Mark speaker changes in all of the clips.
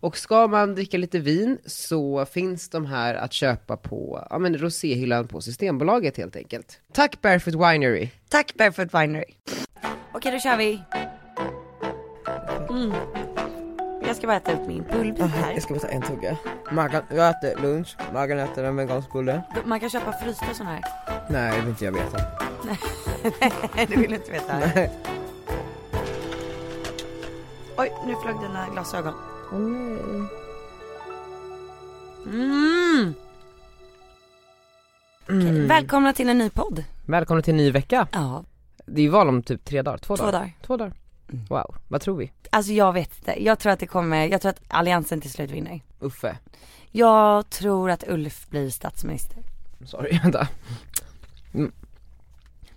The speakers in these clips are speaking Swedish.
Speaker 1: Och ska man dricka lite vin så finns de här att köpa på ja, men roséhyllan på Systembolaget helt enkelt. Tack Barefoot Winery!
Speaker 2: Tack Barefoot Winery. Okej, då kör vi. Mm. Jag ska bara äta upp min bullbit här.
Speaker 1: Jag ska bara ta en tugga. Maggan, jag äter lunch, Maggan äter en vegansk bulle.
Speaker 2: Man kan köpa frysta sådana här.
Speaker 1: Nej, det vill inte jag veta.
Speaker 2: Nej, du vill inte veta. Oj, nu flög dina glasögon. Oh. Mm. Okej, Välkomna till en ny podd.
Speaker 1: Välkomna till en ny vecka.
Speaker 2: Ja.
Speaker 1: Det är ju val om typ tre dagar, två,
Speaker 2: Två dagar.
Speaker 1: Två dagar. Wow, vad tror vi?
Speaker 2: Alltså jag vet inte. Jag tror att det kommer, jag tror att alliansen till slut vinner.
Speaker 1: Uffe,
Speaker 2: Jag tror att Ulf blir statsminister.
Speaker 1: sorry vänta. Mm.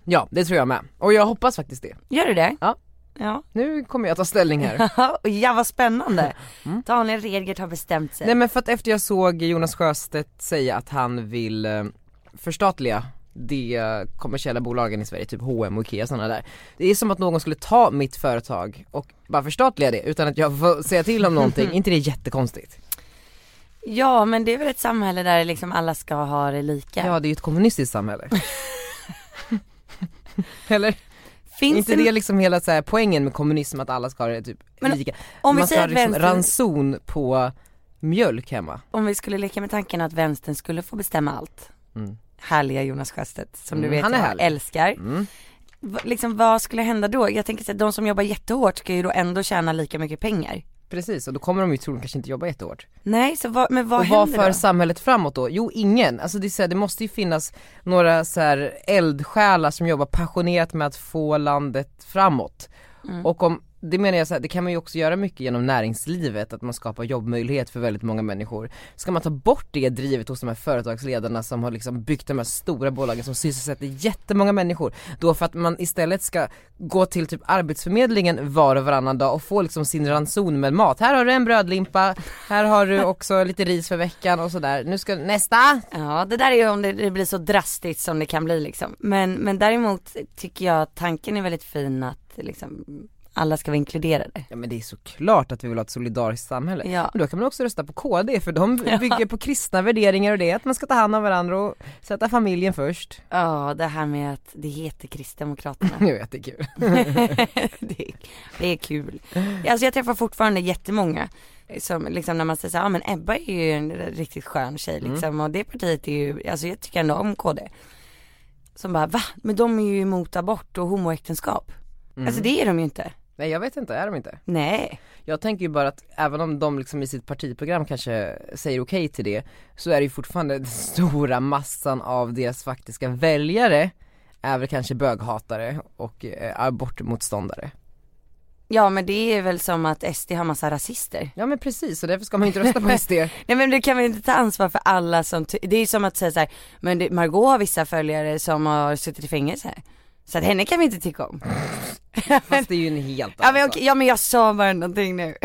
Speaker 1: Ja, det tror jag med. Och jag hoppas faktiskt det.
Speaker 2: Gör du det?
Speaker 1: Ja.
Speaker 2: Ja.
Speaker 1: Nu kommer jag ta ställning här.
Speaker 2: Och ja vad spännande. Daniel Redgert har bestämt sig.
Speaker 1: Mm. Nej men för att efter jag såg Jonas Sjöstedt säga att han vill eh, förstatliga de kommersiella bolagen i Sverige, typ H&M och Ikea och sådana där. Det är som att någon skulle ta mitt företag och bara förstatliga det utan att jag får säga till om någonting, Är inte det jättekonstigt?
Speaker 2: Ja men det är väl ett samhälle där liksom alla ska ha det lika.
Speaker 1: Ja det är ju ett kommunistiskt samhälle. Eller?
Speaker 2: Finns
Speaker 1: inte det liksom hela så här, poängen med kommunism att alla ska ha det typ
Speaker 2: Men
Speaker 1: lika?
Speaker 2: om vi
Speaker 1: Man ska
Speaker 2: säger
Speaker 1: ha
Speaker 2: att
Speaker 1: liksom
Speaker 2: vänstern-
Speaker 1: ranson på mjölk hemma.
Speaker 2: Om vi skulle leka med tanken att vänstern skulle få bestämma allt.
Speaker 1: Mm.
Speaker 2: Härliga Jonas Sjöstedt som
Speaker 1: Mm,
Speaker 2: du vet
Speaker 1: han är
Speaker 2: jag
Speaker 1: härlig.
Speaker 2: älskar.
Speaker 1: Mm.
Speaker 2: Va- liksom vad skulle hända då? Jag tänker att de som jobbar jättehårt ska ju då ändå tjäna lika mycket pengar.
Speaker 1: Precis, och då kommer de ju troligen kanske inte jobba jättehårt.
Speaker 2: Nej, så vad, men vad
Speaker 1: och vad
Speaker 2: händer
Speaker 1: för
Speaker 2: då?
Speaker 1: samhället framåt då? Jo ingen, alltså det, är så här, det måste ju finnas några så här eldsjälar som jobbar passionerat med att få landet framåt.
Speaker 2: Mm.
Speaker 1: Och om, det menar jag så här, det kan man ju också göra mycket genom näringslivet, att man skapar jobbmöjlighet för väldigt många människor. Ska man ta bort det drivet hos de här företagsledarna som har liksom byggt de här stora bolagen som sysselsätter jättemånga människor, då för att man istället ska gå till typ arbetsförmedlingen var och varannan dag och få liksom sin ranson med mat. Här har du en brödlimpa, här har du också lite ris för veckan och sådär. Nu ska nästa!
Speaker 2: Ja, det där är ju om det, det blir så drastiskt som det kan bli liksom. Men, men däremot tycker jag att tanken är väldigt fin att liksom alla ska vara inkluderade.
Speaker 1: Ja men det är såklart att vi vill ha ett solidariskt samhälle.
Speaker 2: Ja.
Speaker 1: Men då kan man också rösta på KD för de bygger på kristna värderingar och det, att man ska ta hand om varandra och sätta familjen först.
Speaker 2: Ja, det här med att det heter Kristdemokraterna.
Speaker 1: Nu är det kul.
Speaker 2: det, är, det är kul. Alltså jag träffar fortfarande jättemånga som liksom när man säger så här, ah, men Ebba är ju en riktigt skön tjej liksom och det partiet är ju, alltså jag tycker ändå om KD. Som bara, va? Men de är ju emot abort och homoäktenskap. Alltså det är de ju inte.
Speaker 1: Nej jag vet inte, är de inte?
Speaker 2: Nej.
Speaker 1: Jag tänker ju bara att även om de liksom i sitt partiprogram kanske säger okej till det så är det ju fortfarande den stora massan av deras faktiska väljare är väl kanske böghatare och eh, abortmotståndare.
Speaker 2: Ja men det är väl som att SD har massa rasister.
Speaker 1: Ja men precis, och därför ska man ju inte rösta på SD.
Speaker 2: Nej men du kan väl inte ta ansvar för alla som, ty- det är ju som att säga så här, men det, Margot har vissa följare som har suttit i fängelse. Så att henne kan vi inte tycka om.
Speaker 1: Fast det är ju en helt
Speaker 2: Ja
Speaker 1: annan
Speaker 2: men,
Speaker 1: sak.
Speaker 2: okej, ja men jag sa bara någonting nu.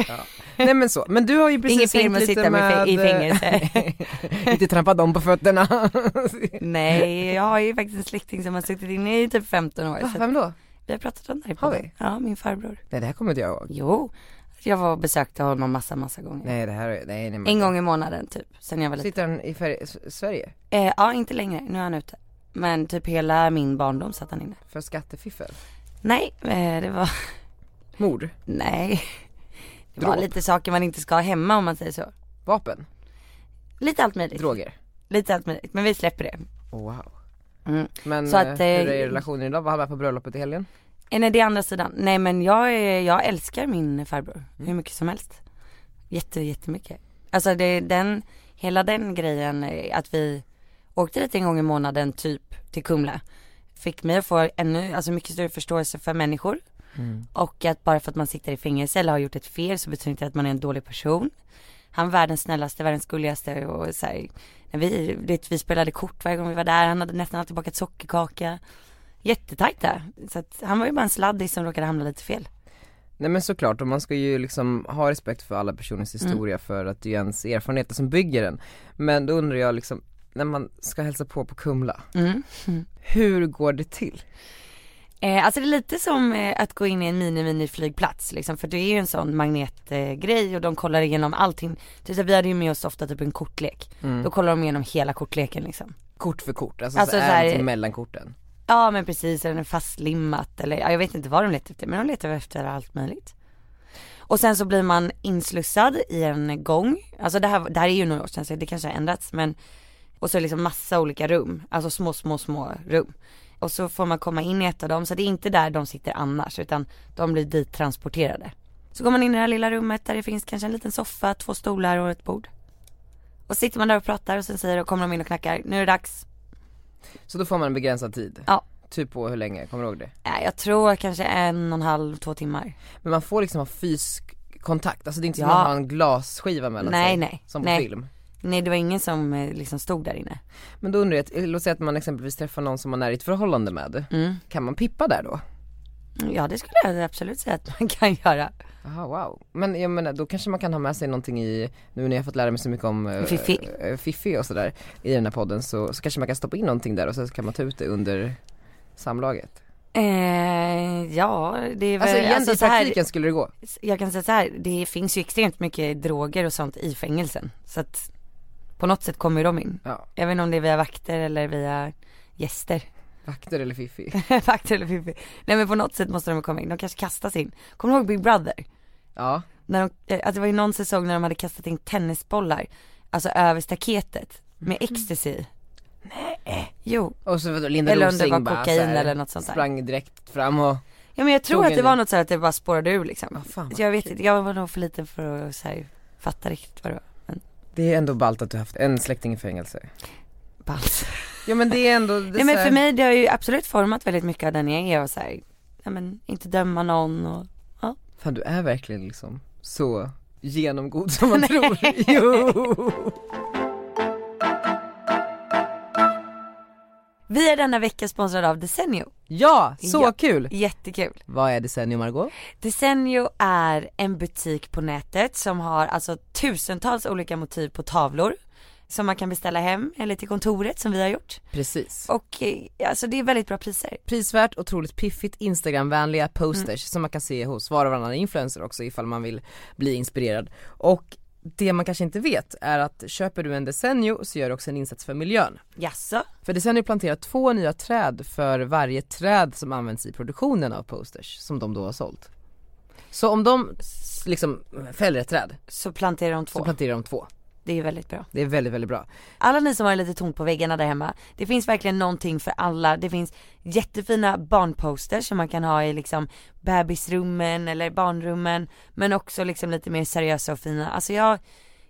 Speaker 1: Nej men så, men du har ju
Speaker 2: Det är
Speaker 1: precis
Speaker 2: Inget fel
Speaker 1: hängt
Speaker 2: med att
Speaker 1: lite
Speaker 2: sitta med fäng-
Speaker 1: med,
Speaker 2: i
Speaker 1: eh,
Speaker 2: fängelse.
Speaker 1: inte trampa dem på fötterna.
Speaker 2: Nej, jag har ju faktiskt en släkting som har suttit inne i typ 15 år. Så att
Speaker 1: Vem då?
Speaker 2: vi har pratat om det här i
Speaker 1: Har
Speaker 2: podden.
Speaker 1: vi?
Speaker 2: Ja, min farbror.
Speaker 1: Nej det här kommer inte jag ihåg.
Speaker 2: Jo, jag var och besökte honom massa, massa gånger.
Speaker 1: Nej det här, är- nej, nej men-
Speaker 2: En gång i månaden typ, sen jag var liten.
Speaker 1: Sitter han i Fer- S- Sverige?
Speaker 2: Eh, ja, inte längre, nu är han ute. Men typ hela min barndom satt han inne.
Speaker 1: För skattefiffel?
Speaker 2: Nej, eh, det var,
Speaker 1: Mord?
Speaker 2: nej. Det var
Speaker 1: Dråp.
Speaker 2: lite saker man inte ska ha hemma om man säger så.
Speaker 1: Vapen?
Speaker 2: Lite allt möjligt.
Speaker 1: Droger?
Speaker 2: Lite allt möjligt, men vi släpper det.
Speaker 1: Wow
Speaker 2: Mm.
Speaker 1: Men
Speaker 2: Så
Speaker 1: så
Speaker 2: att,
Speaker 1: att,
Speaker 2: eh,
Speaker 1: hur är relationen idag? Vad har man på bröllopet i helgen?
Speaker 2: Eh, Nej det är andra sidan. Nej men jag, är, jag älskar min farbror hur mycket som helst. Jätte, jättemycket. Alltså det, är den, hela den grejen eh, att vi åkte dit en gång i månaden typ till Kumla. Fick mig att få ännu, alltså mycket större förståelse för människor. Och att bara för att man sitter i fängelse eller har gjort ett fel så betyder inte det att man är en dålig person. Han var världens snällaste, världens gulligaste och så här, när vi, det, vi spelade kort varje gång vi var där, han hade nästan alltid bakat sockerkaka. Jättetajta. Så att han var ju bara en sladdis som råkade hamna lite fel.
Speaker 1: Nej men såklart, och man ska ju liksom ha respekt för alla personers
Speaker 2: Mm.
Speaker 1: historia för att det är ju ens erfarenheter som bygger den. Men då undrar jag liksom, när man ska hälsa på på Kumla,
Speaker 2: Mm.
Speaker 1: hur går det till?
Speaker 2: Eh, alltså det är lite som eh, att gå in i en mini-mini-flygplats liksom, för det är ju en sån magnetgrej eh, grej och de kollar igenom allting. Typ så här, vi hade ju med oss ofta typ en kortlek. Då kollar de igenom hela kortleken liksom.
Speaker 1: Kort för kort, alltså,
Speaker 2: Alltså
Speaker 1: så
Speaker 2: så här-
Speaker 1: är det till mellan korten.
Speaker 2: Ja men precis, är den fastlimmat eller ja, jag vet inte vad de letar efter men de letar efter allt möjligt. Och sen så blir man inslussad i en gång, alltså det här, det här är ju några år sedan så det kanske har ändrats men och så är det liksom massa olika rum, alltså små små små rum. Och så får man komma in i ett av dem, så det är inte där de sitter annars utan de blir dit transporterade. Så går man in i det här lilla rummet där det finns kanske en liten soffa, två stolar och ett bord. Och sitter man där och pratar och sen säger kommer de in och knackar, nu är det dags.
Speaker 1: Så då får man en begränsad tid,
Speaker 2: Ja.
Speaker 1: typ på hur länge, kommer du ihåg det?
Speaker 2: Nej, Jag tror kanske en och en halv, två timmar.
Speaker 1: Men man får liksom ha fysisk kontakt, alltså det är inte som
Speaker 2: Ja.
Speaker 1: att man har en glasskiva mellan
Speaker 2: Nej,
Speaker 1: sig,
Speaker 2: nej,
Speaker 1: som på
Speaker 2: nej.
Speaker 1: film.
Speaker 2: Nej det var ingen som eh, liksom stod där inne.
Speaker 1: Men då undrar jag, att- låt säga att man exempelvis träffar någon som man är i ett förhållande med, kan man pippa där då?
Speaker 2: Ja det skulle jag absolut säga att man kan göra.
Speaker 1: Aha, wow. Men jag menar, då kanske man kan ha med sig någonting i, nu när jag har fått lära mig så mycket om eh,
Speaker 2: Fiffi.
Speaker 1: eh, Fiffi och sådär i den här podden så, så kanske man kan stoppa in någonting där och så kan man ta ut det under samlaget.
Speaker 2: Eh, ja det är väl,
Speaker 1: Alltså, egentligen i
Speaker 2: så här-
Speaker 1: praktiken skulle det gå.
Speaker 2: jag kan säga så här, det finns ju extremt mycket droger och sånt i fängelsen. Så att på något sätt kommer ju de in.
Speaker 1: Ja,
Speaker 2: Jag vet inte om det är via vakter eller via gäster.
Speaker 1: vakter eller Fiffi.
Speaker 2: vakter eller fiffi. Nej men på något sätt måste de komma in, de kanske kastas in. Kommer du ihåg Big Brother?
Speaker 1: Ja,
Speaker 2: när de, eh, att det var ju någon säsong när de hade kastat in tennisbollar, alltså över staketet med
Speaker 1: Mhm.
Speaker 2: ecstasy. Nej. Jo.
Speaker 1: och så vadå, Linda
Speaker 2: Eller om det
Speaker 1: Rosing
Speaker 2: var
Speaker 1: bara
Speaker 2: kokain
Speaker 1: så här
Speaker 2: eller något sånt där.
Speaker 1: Sprang direkt fram och,
Speaker 2: Ja men jag tror
Speaker 1: Tog
Speaker 2: att det
Speaker 1: en-
Speaker 2: var något så här att det bara spårade ur liksom.
Speaker 1: Ja, fan, vad
Speaker 2: jag vet inte, jag var nog för liten för att så här, fatta riktigt vad det var. Men
Speaker 1: det är ändå ballt att du har haft en släkting i fängelse.
Speaker 2: balls.
Speaker 1: Ja men det är ändå, det är
Speaker 2: Nej men
Speaker 1: så här-
Speaker 2: för mig det har ju absolut format väldigt mycket av den jag är och så här, ja men inte döma någon och
Speaker 1: Fan du är verkligen liksom så genomgod som man tror. Jo!
Speaker 2: Vi är denna vecka sponsrade av Desenio,
Speaker 1: Ja, så
Speaker 2: Ja.
Speaker 1: kul!
Speaker 2: jättekul.
Speaker 1: Vad är decennium Margot?
Speaker 2: Desenio är en butik på nätet som har alltså tusentals olika motiv på tavlor som man kan beställa hem eller till kontoret som vi har gjort.
Speaker 1: Precis.
Speaker 2: Och eh, alltså det är väldigt bra priser.
Speaker 1: Prisvärt, otroligt piffigt, instagramvänliga posters som man kan se hos var och varannan influencer också ifall man vill bli inspirerad. Och det man kanske inte vet är att köper du en Desenio så gör du också en insats för miljön.
Speaker 2: Jaså?
Speaker 1: För Desenio planterar två nya träd för varje träd som används i produktionen av posters som de då har sålt. Så om de s- liksom fäller ett träd
Speaker 2: Så planterar de
Speaker 1: så
Speaker 2: två.
Speaker 1: planterar de två.
Speaker 2: Det är väldigt bra.
Speaker 1: Det är väldigt, väldigt bra.
Speaker 2: Alla ni som har lite tomt på väggarna där hemma, det finns verkligen någonting för alla. Det finns jättefina barnposters som man kan ha i liksom bebisrummen eller barnrummen, men också liksom lite mer seriösa och fina. Alltså jag,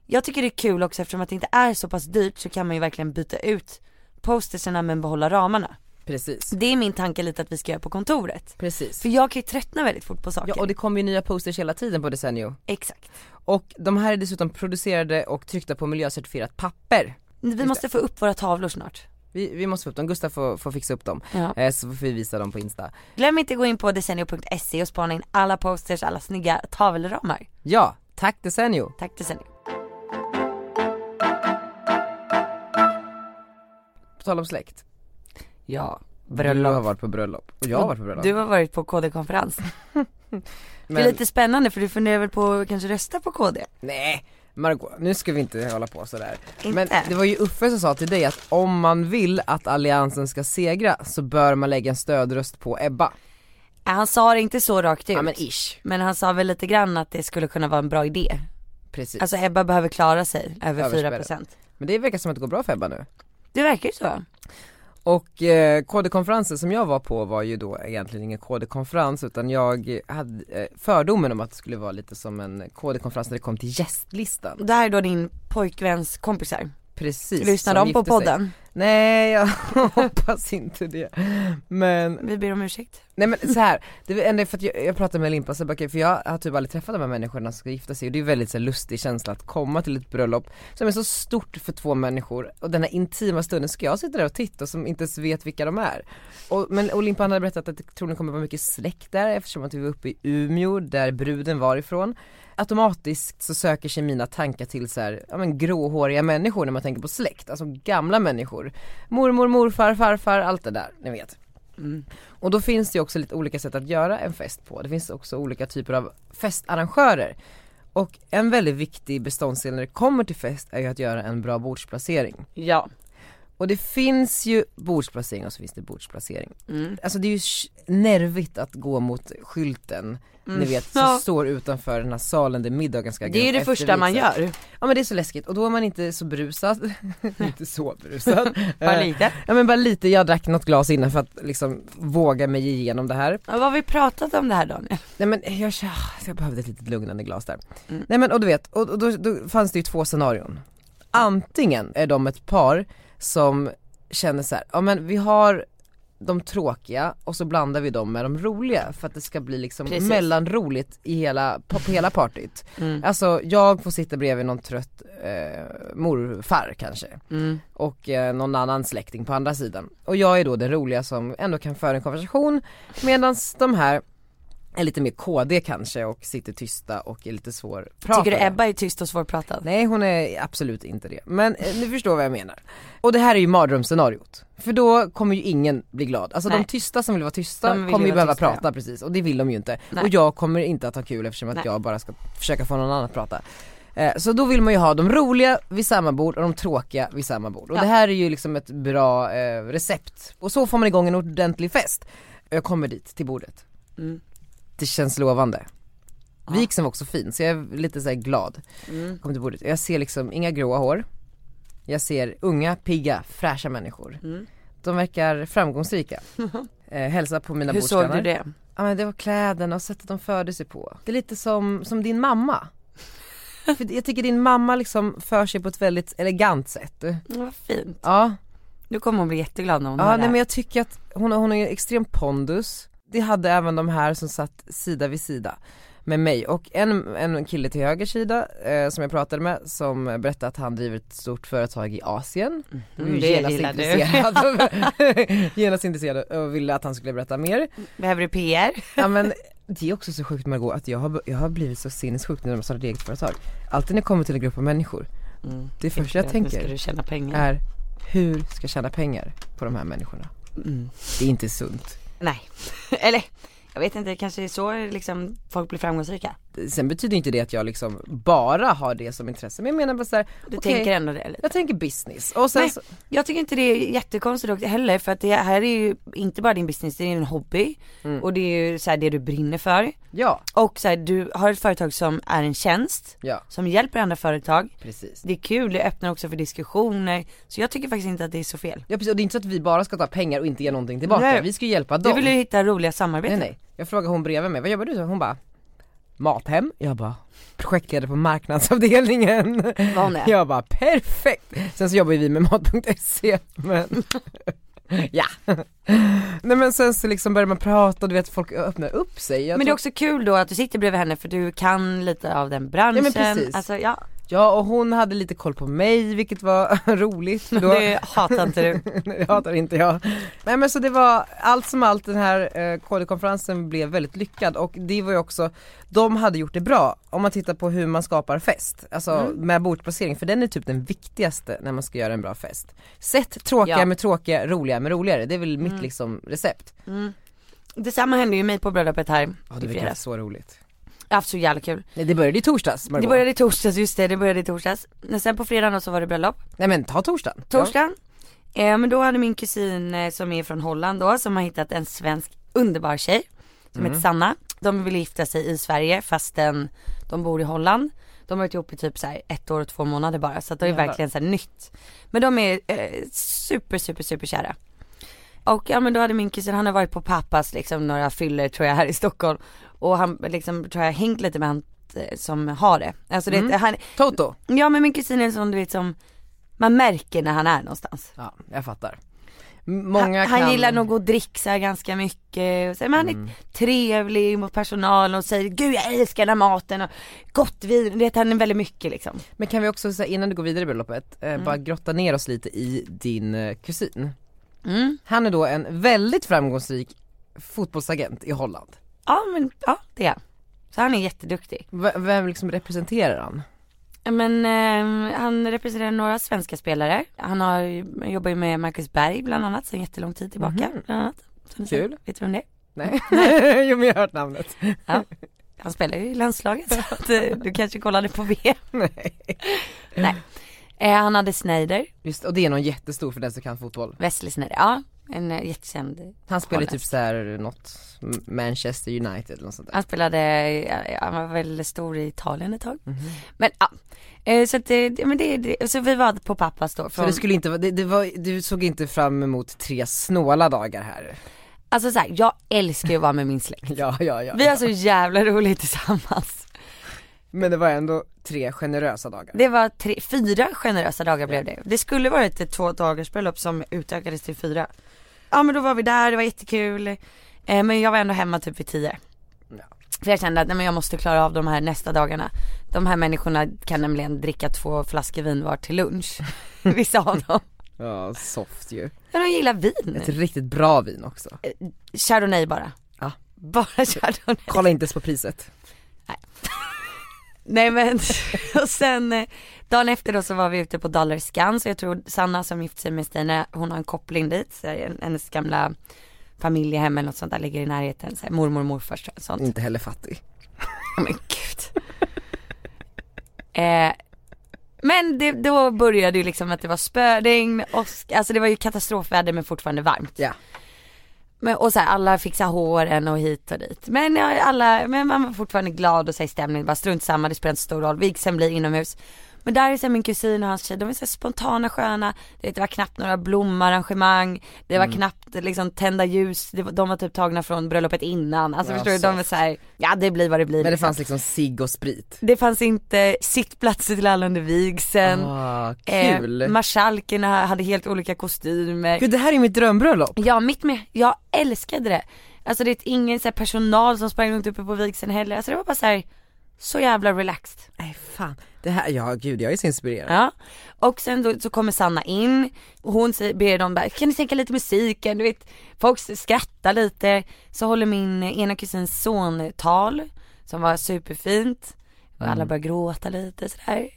Speaker 2: jag tycker det är kul också eftersom att det inte är så pass dyrt så kan man ju verkligen byta ut posterserna men behålla ramarna.
Speaker 1: Precis.
Speaker 2: Det är min tanke lite att vi ska göra på kontoret.
Speaker 1: Precis.
Speaker 2: För jag kan ju tröttna väldigt fort på saker.
Speaker 1: Ja och det kommer ju nya posters hela tiden på Desenio.
Speaker 2: Exakt.
Speaker 1: Och de här är dessutom producerade och tryckta på miljöcertifierat papper.
Speaker 2: Vi måste få upp våra tavlor snart.
Speaker 1: Vi, vi måste få upp dem, Gustav får, får fixa upp dem.
Speaker 2: Ja.
Speaker 1: Eh, så får vi visa dem på Insta.
Speaker 2: Glöm inte gå in på desenio.se och spana in alla posters, alla snygga tavelramar.
Speaker 1: Ja, tack Desenio!
Speaker 2: Tack Desenio.
Speaker 1: På tal om släkt.
Speaker 2: Ja,
Speaker 1: Du har varit på bröllop. Och jag har varit på bröllop.
Speaker 2: Du har varit på KD-konferens. Det
Speaker 1: Men,
Speaker 2: är lite spännande för du funderar väl på att kanske rösta på KD?
Speaker 1: nej Margot, nu ska vi inte hålla på sådär.
Speaker 2: Inte.
Speaker 1: Men det var ju Uffe som sa till dig att om man vill att alliansen ska segra så bör man lägga en stödröst på Ebba.
Speaker 2: Ja, Äh, Han sa det inte så rakt ut.
Speaker 1: Ja men ish.
Speaker 2: Men han sa väl lite grann att det skulle kunna vara en bra idé.
Speaker 1: Precis.
Speaker 2: Alltså Ebba behöver klara sig över
Speaker 1: Överspelad.
Speaker 2: 4%.
Speaker 1: men det verkar som att det går bra för Ebba nu.
Speaker 2: Det verkar ju så.
Speaker 1: Och eh, KD-konferensen som jag var på var ju då egentligen ingen KD-konferens utan jag hade eh, fördomen om att det skulle vara lite som en KD-konferens när det kom till gästlistan.
Speaker 2: Det här är då din pojkväns kompisar.
Speaker 1: Precis.
Speaker 2: Lyssnar
Speaker 1: som
Speaker 2: de på
Speaker 1: gifte sig.
Speaker 2: podden?
Speaker 1: Nej jag hoppas inte det. Men
Speaker 2: Vi ber om ursäkt.
Speaker 1: Nej men så här, det var ändå för att jag, jag pratade med Limpa Sebaki för jag har typ aldrig träffat de här människorna som ska gifta sig och det är väldigt så här, lustig känsla att komma till ett bröllop som är så stort för två människor och den här intima stunden ska jag sitta där och titta och som inte ens vet vilka de är. Och, men, och Limpa han hade berättat att det troligen kommer vara mycket släkt där eftersom att vi var uppe i Umeå där bruden var ifrån. Automatiskt så söker sig mina tankar till så här, ja men gråhåriga människor när man tänker på släkt, alltså gamla människor. Mormor, morfar, farfar, allt det där, ni vet. Och då finns det ju också lite olika sätt att göra en fest på. Det finns också olika typer av festarrangörer. Och en väldigt viktig beståndsdel när det kommer till fest är ju att göra en bra bordsplacering.
Speaker 2: Ja.
Speaker 1: Och det finns ju bordsplacering och så finns det bordsplacering.
Speaker 2: Mm.
Speaker 1: Alltså det är ju sh- nervigt att gå mot skylten, ni vet, som
Speaker 2: Mm. Ja.
Speaker 1: står utanför den här salen där middagen ska
Speaker 2: Det är ju det första man
Speaker 1: eftervisas.
Speaker 2: gör.
Speaker 1: Ja men det är så läskigt och då är man inte så berusad, inte så berusad.
Speaker 2: Bara
Speaker 1: Eh,
Speaker 2: lite.
Speaker 1: Ja men bara lite, jag drack något glas innan för att liksom våga mig igenom det här.
Speaker 2: Ja, Vad har vi pratat om det här Daniel?
Speaker 1: Nej men jag, så jag behövde ett litet lugnande glas där. Nej men och du vet, och, och då, då fanns det ju två scenarion. Antingen är de ett par som känner så här, ja men vi har de tråkiga och så blandar vi dem med de roliga för att det ska bli liksom
Speaker 2: Precis.
Speaker 1: mellanroligt i hela, på, på hela partyt. Alltså jag får sitta bredvid någon trött eh, morfar kanske och eh, någon annan släkting på andra sidan. Och jag är då den roliga som ändå kan föra en konversation medan de här är lite mer KD kanske och sitter tysta och är lite svårpratade.
Speaker 2: Tycker du Ebba är tyst och svårpratad?
Speaker 1: Nej hon är absolut inte det. Men eh, ni förstår vad jag menar. Och det här är ju mardrömsscenariot. För då kommer ju ingen bli glad. Alltså
Speaker 2: Nej.
Speaker 1: de tysta som vill vara tysta
Speaker 2: De vill ju
Speaker 1: kommer ju
Speaker 2: vara
Speaker 1: behöva
Speaker 2: tysta,
Speaker 1: prata precis och det vill de ju inte.
Speaker 2: Nej.
Speaker 1: Och jag kommer inte att ha kul eftersom att
Speaker 2: Nej.
Speaker 1: jag bara ska försöka få någon annan att prata. Eh, Så då vill man ju ha de roliga vid samma bord och de tråkiga vid samma bord. Och
Speaker 2: Ja.
Speaker 1: det här är ju liksom ett bra eh, recept. Och så får man igång en ordentlig fest. Jag kommer dit till bordet.
Speaker 2: Mm.
Speaker 1: Det känns lovande. Vigseln var också fin så jag är lite så här glad.
Speaker 2: Mm.
Speaker 1: Jag kom till bordet jag ser liksom inga gråa hår. Jag ser unga, pigga, fräscha människor.
Speaker 2: Mm.
Speaker 1: De verkar framgångsrika. Eh, hälsa på mina
Speaker 2: Hur såg
Speaker 1: bordsgrannar.
Speaker 2: du det?
Speaker 1: Ja men det var kläderna och sättet de förde sig på. Det är lite som, som din mamma. För jag tycker din mamma liksom för sig på ett väldigt elegant sätt.
Speaker 2: Ja, Vad fint.
Speaker 1: Ja,
Speaker 2: Nu kommer hon bli jätteglad när hon
Speaker 1: ja
Speaker 2: hör
Speaker 1: nej,
Speaker 2: det
Speaker 1: men
Speaker 2: här.
Speaker 1: jag tycker att hon, har- hon har ju extrem pondus. Det hade även de här som satt sida vid sida med mig och en, en kille till höger sida eh, som jag pratade med som berättade att han driver ett stort företag i Asien.
Speaker 2: Mm,
Speaker 1: Och
Speaker 2: det
Speaker 1: genast
Speaker 2: gillar du.
Speaker 1: intresserad av- Genast intresserad och ville att han skulle berätta mer.
Speaker 2: Behöver du PR?
Speaker 1: Ja men det är också så sjukt Margot att jag har, jag har blivit så sinnessjuk när man startar eget företag. Alltid när det kommer till en grupp av människor, det första jag
Speaker 2: Nu Mm. ska du
Speaker 1: tänker
Speaker 2: tjäna pengar.
Speaker 1: är hur ska jag tjäna pengar på de här människorna?
Speaker 2: Mm.
Speaker 1: Det är inte sunt.
Speaker 2: Nej. Eller, jag vet inte, kanske det är så liksom folk blir framgångsrika.
Speaker 1: Sen betyder inte det att jag liksom bara har det som intresse men jag menar bara såhär,
Speaker 2: Du
Speaker 1: okej,
Speaker 2: tänker ändå det lite.
Speaker 1: jag tänker business och sen
Speaker 2: Nej,
Speaker 1: så,
Speaker 2: jag tycker inte det är jättekonstigt också heller för att det här är ju inte bara din business, det är en hobby
Speaker 1: Mm.
Speaker 2: och det är ju så här det du brinner för.
Speaker 1: ja,
Speaker 2: Och så här, du har ett företag som är en tjänst,
Speaker 1: ja
Speaker 2: som hjälper andra företag.
Speaker 1: precis.
Speaker 2: Det är kul, det öppnar också för diskussioner. Så jag tycker faktiskt inte att det är så fel.
Speaker 1: Ja precis och det är inte så att vi bara ska ta pengar och inte ge någonting tillbaka,
Speaker 2: Nej.
Speaker 1: vi ska ju hjälpa
Speaker 2: Du
Speaker 1: dem.
Speaker 2: vill ju hitta roliga samarbeten.
Speaker 1: Nej nej, jag frågade hon bredvid mig, vad jobbar du med? Hon bara, Mathem. Jag bara, projektledare på marknadsavdelningen.
Speaker 2: Vad hon är.
Speaker 1: Jag bara, perfekt! Sen så jobbar ju vi med mat.se men Ja. Nej men sen så liksom börjar man prata och du vet folk öppnar upp sig. Jag
Speaker 2: Men det
Speaker 1: tror-
Speaker 2: är också kul då att du sitter bredvid henne för du kan lite av den branschen.
Speaker 1: Ja, men precis.
Speaker 2: Alltså ja,
Speaker 1: Ja och hon hade lite koll på mig vilket var roligt. för Då...
Speaker 2: det hatar inte du.
Speaker 1: Nej, det hatar inte jag. Nej men så det var allt som allt den här eh, KD-konferensen blev väldigt lyckad och det var ju också, de hade gjort det bra om man tittar på hur man skapar fest, alltså med bordsplacering för den är typ den viktigaste när man ska göra en bra fest. Sätt tråkiga
Speaker 2: Ja.
Speaker 1: med tråkiga, roliga med roligare, det är väl mitt liksom recept.
Speaker 2: Detsamma hände ju mig på bröllopet här
Speaker 1: Ja det
Speaker 2: i
Speaker 1: verkar
Speaker 2: fredags.
Speaker 1: så roligt.
Speaker 2: Jag har haft så jävla kul.
Speaker 1: Nej det började i torsdags Margot.
Speaker 2: Det började i torsdags, just det, det började i torsdags. Men sen på fredagen då så var det bröllop.
Speaker 1: Nej men ta torsdagen.
Speaker 2: Torsdagen. Eh, men då hade min kusin eh, som är från Holland då, som har hittat en svensk underbar tjej. Som heter Sanna. De vill gifta sig i Sverige fastän de bor i Holland. De har varit ihop i typ så här ett år och två månader bara så att det är
Speaker 1: Jävlar.
Speaker 2: verkligen så här nytt. Men de är eh, super super super kära. Och ja men då hade min kusin, han har varit på pappas liksom några fyller tror jag här i Stockholm. Och han liksom tror jag hängt lite med han eh, som har det. Alltså det, han,
Speaker 1: Toto?
Speaker 2: ja men min kusin är en sån du vet som, man märker när han är någonstans.
Speaker 1: Ja, jag fattar. M- Många
Speaker 2: han, han
Speaker 1: kan... Mm.
Speaker 2: gillar nog att dricksa ganska mycket, och så, men han är trevlig mot personalen och säger gud jag älskar den här maten och gott vin, du vet han är väldigt mycket liksom.
Speaker 1: Men kan vi också så här, innan du går vidare i bröllopet, eh, bara grotta ner oss lite i din eh, kusin.
Speaker 2: Mm.
Speaker 1: Han är då en väldigt framgångsrik fotbollsagent i Holland.
Speaker 2: Ja men ja det är han. Så han är jätteduktig.
Speaker 1: V- vem liksom representerar han?
Speaker 2: Men eh, han representerar några svenska spelare. Han har, ju- jobbar ju med Marcus Berg bland annat sedan jättelång tid tillbaka. Bland annat. Som du säger.
Speaker 1: Mhm. Kul.
Speaker 2: Vet du vem det är?
Speaker 1: Nej, jo men jag har hört namnet.
Speaker 2: Han spelar ju i landslaget så att, eh, du kanske kollade på VM.
Speaker 1: Nej.
Speaker 2: Nej. Eh, han hade Snyder,
Speaker 1: Just och det är någon jättestor för den som kan fotboll.
Speaker 2: Wesley Snyder, ja. En eh, jättekänd
Speaker 1: Han spelar ju
Speaker 2: Holländsk.
Speaker 1: typ såhär något M- Manchester United eller något sånt där.
Speaker 2: Han spelade, ja, han var väl stor i Italien ett tag.
Speaker 1: Mhm.
Speaker 2: Men ja, Eh, så att det, det- men det, det, så vi var på pappas då.
Speaker 1: Så
Speaker 2: Från,
Speaker 1: det skulle inte vara, det, det var, du såg inte fram emot tre snåla dagar här?
Speaker 2: Alltså såhär, jag älskar ju att vara med min släkt.
Speaker 1: Ja, ja, ja.
Speaker 2: Vi har så jävla roligt tillsammans.
Speaker 1: Men det var ändå tre generösa dagar.
Speaker 2: Det var tre, fyra generösa dagar blev det. Det skulle varit ett två dagars bröllop som utökades till fyra. Ja men då var vi där, det var jättekul. Eh, men jag var ändå hemma typ vid tio.
Speaker 1: Ja.
Speaker 2: För jag kände att nej, men jag måste klara av de här nästa dagarna. De här människorna kan nämligen dricka två flaskor vin var till lunch. Vissa av dem.
Speaker 1: Ja, soft ju.
Speaker 2: Ja, de gillar vin.
Speaker 1: Ett riktigt bra vin också.
Speaker 2: Chardonnay bara.
Speaker 1: Ja.
Speaker 2: Bara chardonnay.
Speaker 1: Kolla inte ens på priset.
Speaker 2: Nej men, och sen eh, dagen efter då så var vi ute på Dollar Scan, så jag tror Sanna som gifte sig med Stina, hon har en koppling dit, så här, en- hennes gamla familjehem eller något sånt där ligger i närheten, så här, mormor, morfar, så- sånt.
Speaker 1: Inte heller fattig.
Speaker 2: Ja, Men gud. eh, men det, då började ju liksom att det var spöregn, åsk, alltså det var ju katastrofväder men fortfarande varmt.
Speaker 1: Ja.
Speaker 2: Men, och så här, alla fixar håren och hit och dit. Men, ja, alla, men man var fortfarande glad och så här, i stämningen, bara strunt samma, det spelar inte så stor roll. Vigseln blir inomhus. Men där är så här, min kusin och hans tjej, de är så här, spontana sköna. Det, det var knappt några blomarrangemang, det var
Speaker 1: Mm.
Speaker 2: knappt liksom tända ljus, det var, de var typ tagna från bröllopet innan. Alltså
Speaker 1: Ja,
Speaker 2: förstår du, de var
Speaker 1: soft.
Speaker 2: så här, ja det blir vad det blir.
Speaker 1: Men det
Speaker 2: liksom.
Speaker 1: fanns liksom cigg och sprit.
Speaker 2: Det fanns inte sittplatser till alla under vigseln.
Speaker 1: Ah,
Speaker 2: Eh,
Speaker 1: kul.
Speaker 2: Marskalkerna hade helt olika kostymer.
Speaker 1: Gud det här är mitt drömbröllop.
Speaker 2: Ja, mitt med. Jag älskade det. Alltså det är ingen så här, personal som sprang runt uppe på vigseln heller. Alltså det var bara så här, så jävla relaxed.
Speaker 1: Nej fan. Det här, ja gud jag är så inspirerad.
Speaker 2: Ja. Och sen då, så kommer Sanna in och hon säger, ber dem bara, kan ni sänka lite musiken? Du vet, folk skrattar lite. Så håller min eh, ena kusins son tal som var superfint. Och alla börjar gråta lite sådär.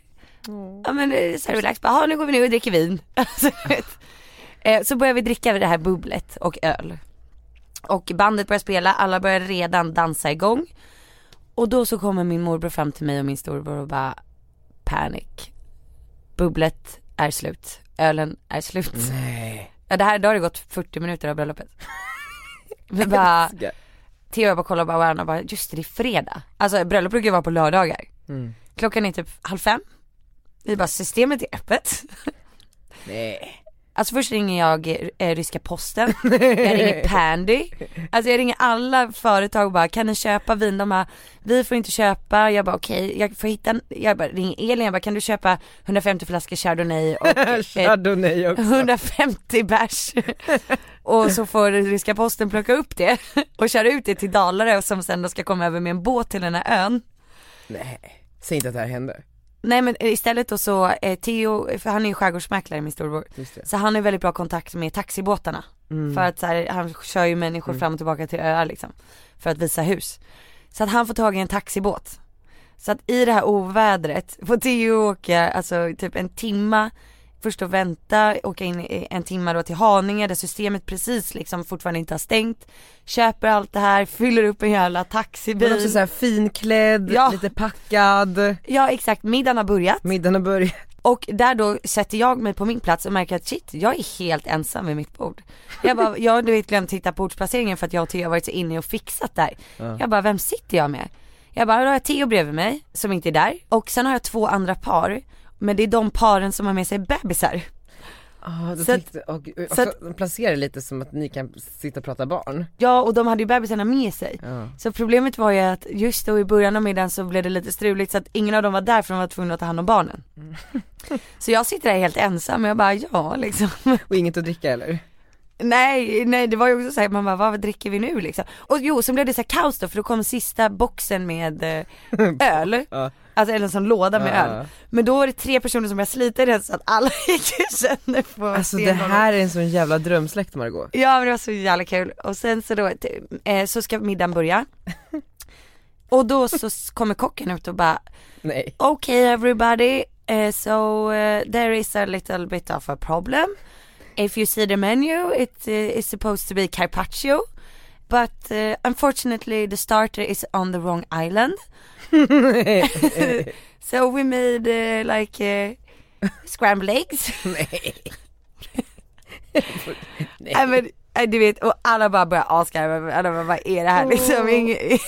Speaker 2: Ja men eh, så här relax, bara, "Ja, nu går vi ner och dricker vin. Alltså, du vet. Eh, så börjar vi dricka det här bubblet och öl. Och bandet börjar spela, alla börjar redan dansa igång. Och då så kommer min morbror fram till mig och min storbror och bara panic. Bubblet är slut, ölen är slut.
Speaker 1: Mm. Nej.
Speaker 2: Ja, det här, då har det gått 40 minuter av bröllopet. Vi bara,
Speaker 1: Älskar.
Speaker 2: Theo och jag bara kollar på varandra och bara, just det, det är fredag. Alltså bröllop brukar ju vara på lördagar.
Speaker 1: Mm.
Speaker 2: Klockan är typ halv fem. Vi bara, systemet är öppet.
Speaker 1: Nej.
Speaker 2: Alltså först ringer jag eh, ryska posten, jag ringer Pandy, alltså jag ringer alla företag och bara kan ni köpa vin? De bara, vi får inte köpa, jag bara okej, jag får hitta, en... jag bara ringer Elin, jag bara kan du köpa 150 flaskor chardonnay och eh,
Speaker 1: Chardonnay också.
Speaker 2: 150 bärs och så får ryska posten plocka upp det och köra ut det till Dalarö som sen då ska komma över med en båt till den här ön.
Speaker 1: Nej. Säg inte att det här hände.
Speaker 2: Nej men istället då så, eh, Theo, för han är ju skärgårdsmäklare min storbror,
Speaker 1: Just det.
Speaker 2: så han har väldigt bra kontakt med taxibåtarna.
Speaker 1: Mm.
Speaker 2: För att så här, han kör ju människor fram och tillbaka till öar liksom. För att visa hus. Så att han får tag i en taxibåt. Så att i det här ovädret får Theo åka alltså typ en timma först och vänta, åka in i- en timma då till Haninge där systemet precis liksom fortfarande inte har stängt. Köper allt det här, fyller upp en jävla
Speaker 1: Men också
Speaker 2: taxibil.
Speaker 1: såhär finklädd,
Speaker 2: Ja.
Speaker 1: lite packad,
Speaker 2: Ja exakt, middagen har börjat.
Speaker 1: middagen har börjat.
Speaker 2: Och där då sätter jag mig på min plats och märker att shit, jag är helt ensam vid mitt bord. Jag bara, jag har du vet glömt titta på bordsplaceringen för att jag och Theo har varit så inne och fixat där. Jag bara, vem sitter jag med? Jag bara, då har jag Theo bredvid mig som inte är där och sen har jag två andra par, men det är de paren som har med sig bebisar.
Speaker 1: Ah, då
Speaker 2: Så att-
Speaker 1: tänkte, och, och,
Speaker 2: så att-
Speaker 1: och, placera det lite som att ni kan sitta och prata barn.
Speaker 2: Ja och de hade ju bebisarna med sig.
Speaker 1: Ja.
Speaker 2: Så problemet var ju att just då i början av middagen så blev det lite struligt så att ingen av dem var där för de var tvungna att ta hand om barnen. Så jag sitter där helt ensam och jag bara ja liksom.
Speaker 1: Och inget att dricka eller?
Speaker 2: Nej, nej det var ju också såhär, man bara vad dricker vi nu liksom? Och jo, sen blev det så här kaos då för då kom sista boxen med eh, öl.
Speaker 1: Ja.
Speaker 2: Alltså eller en sån låda med
Speaker 1: Ja.
Speaker 2: öl. Men då var det tre personer som jag slita i den så att alla gick och kände på
Speaker 1: Alltså det
Speaker 2: stengolvet.
Speaker 1: här är en sån jävla drömsläkt Margot.
Speaker 2: Ja men det var så jävla kul. Och sen så då, t- eh, så ska middagen börja. Och då så s- kommer kocken ut och bara
Speaker 1: Nej.
Speaker 2: okay everybody, uh, so uh, there is a little bit of a problem. If you see the menu, it uh, is supposed to be carpaccio, but uh, unfortunately the starter is on the wrong island. so we made uh, like uh, scrambled eggs.
Speaker 1: Nej.
Speaker 2: Nej men eh, du vet, och alla bara börjar asgarva, alla bara vad är det här liksom? Ingen...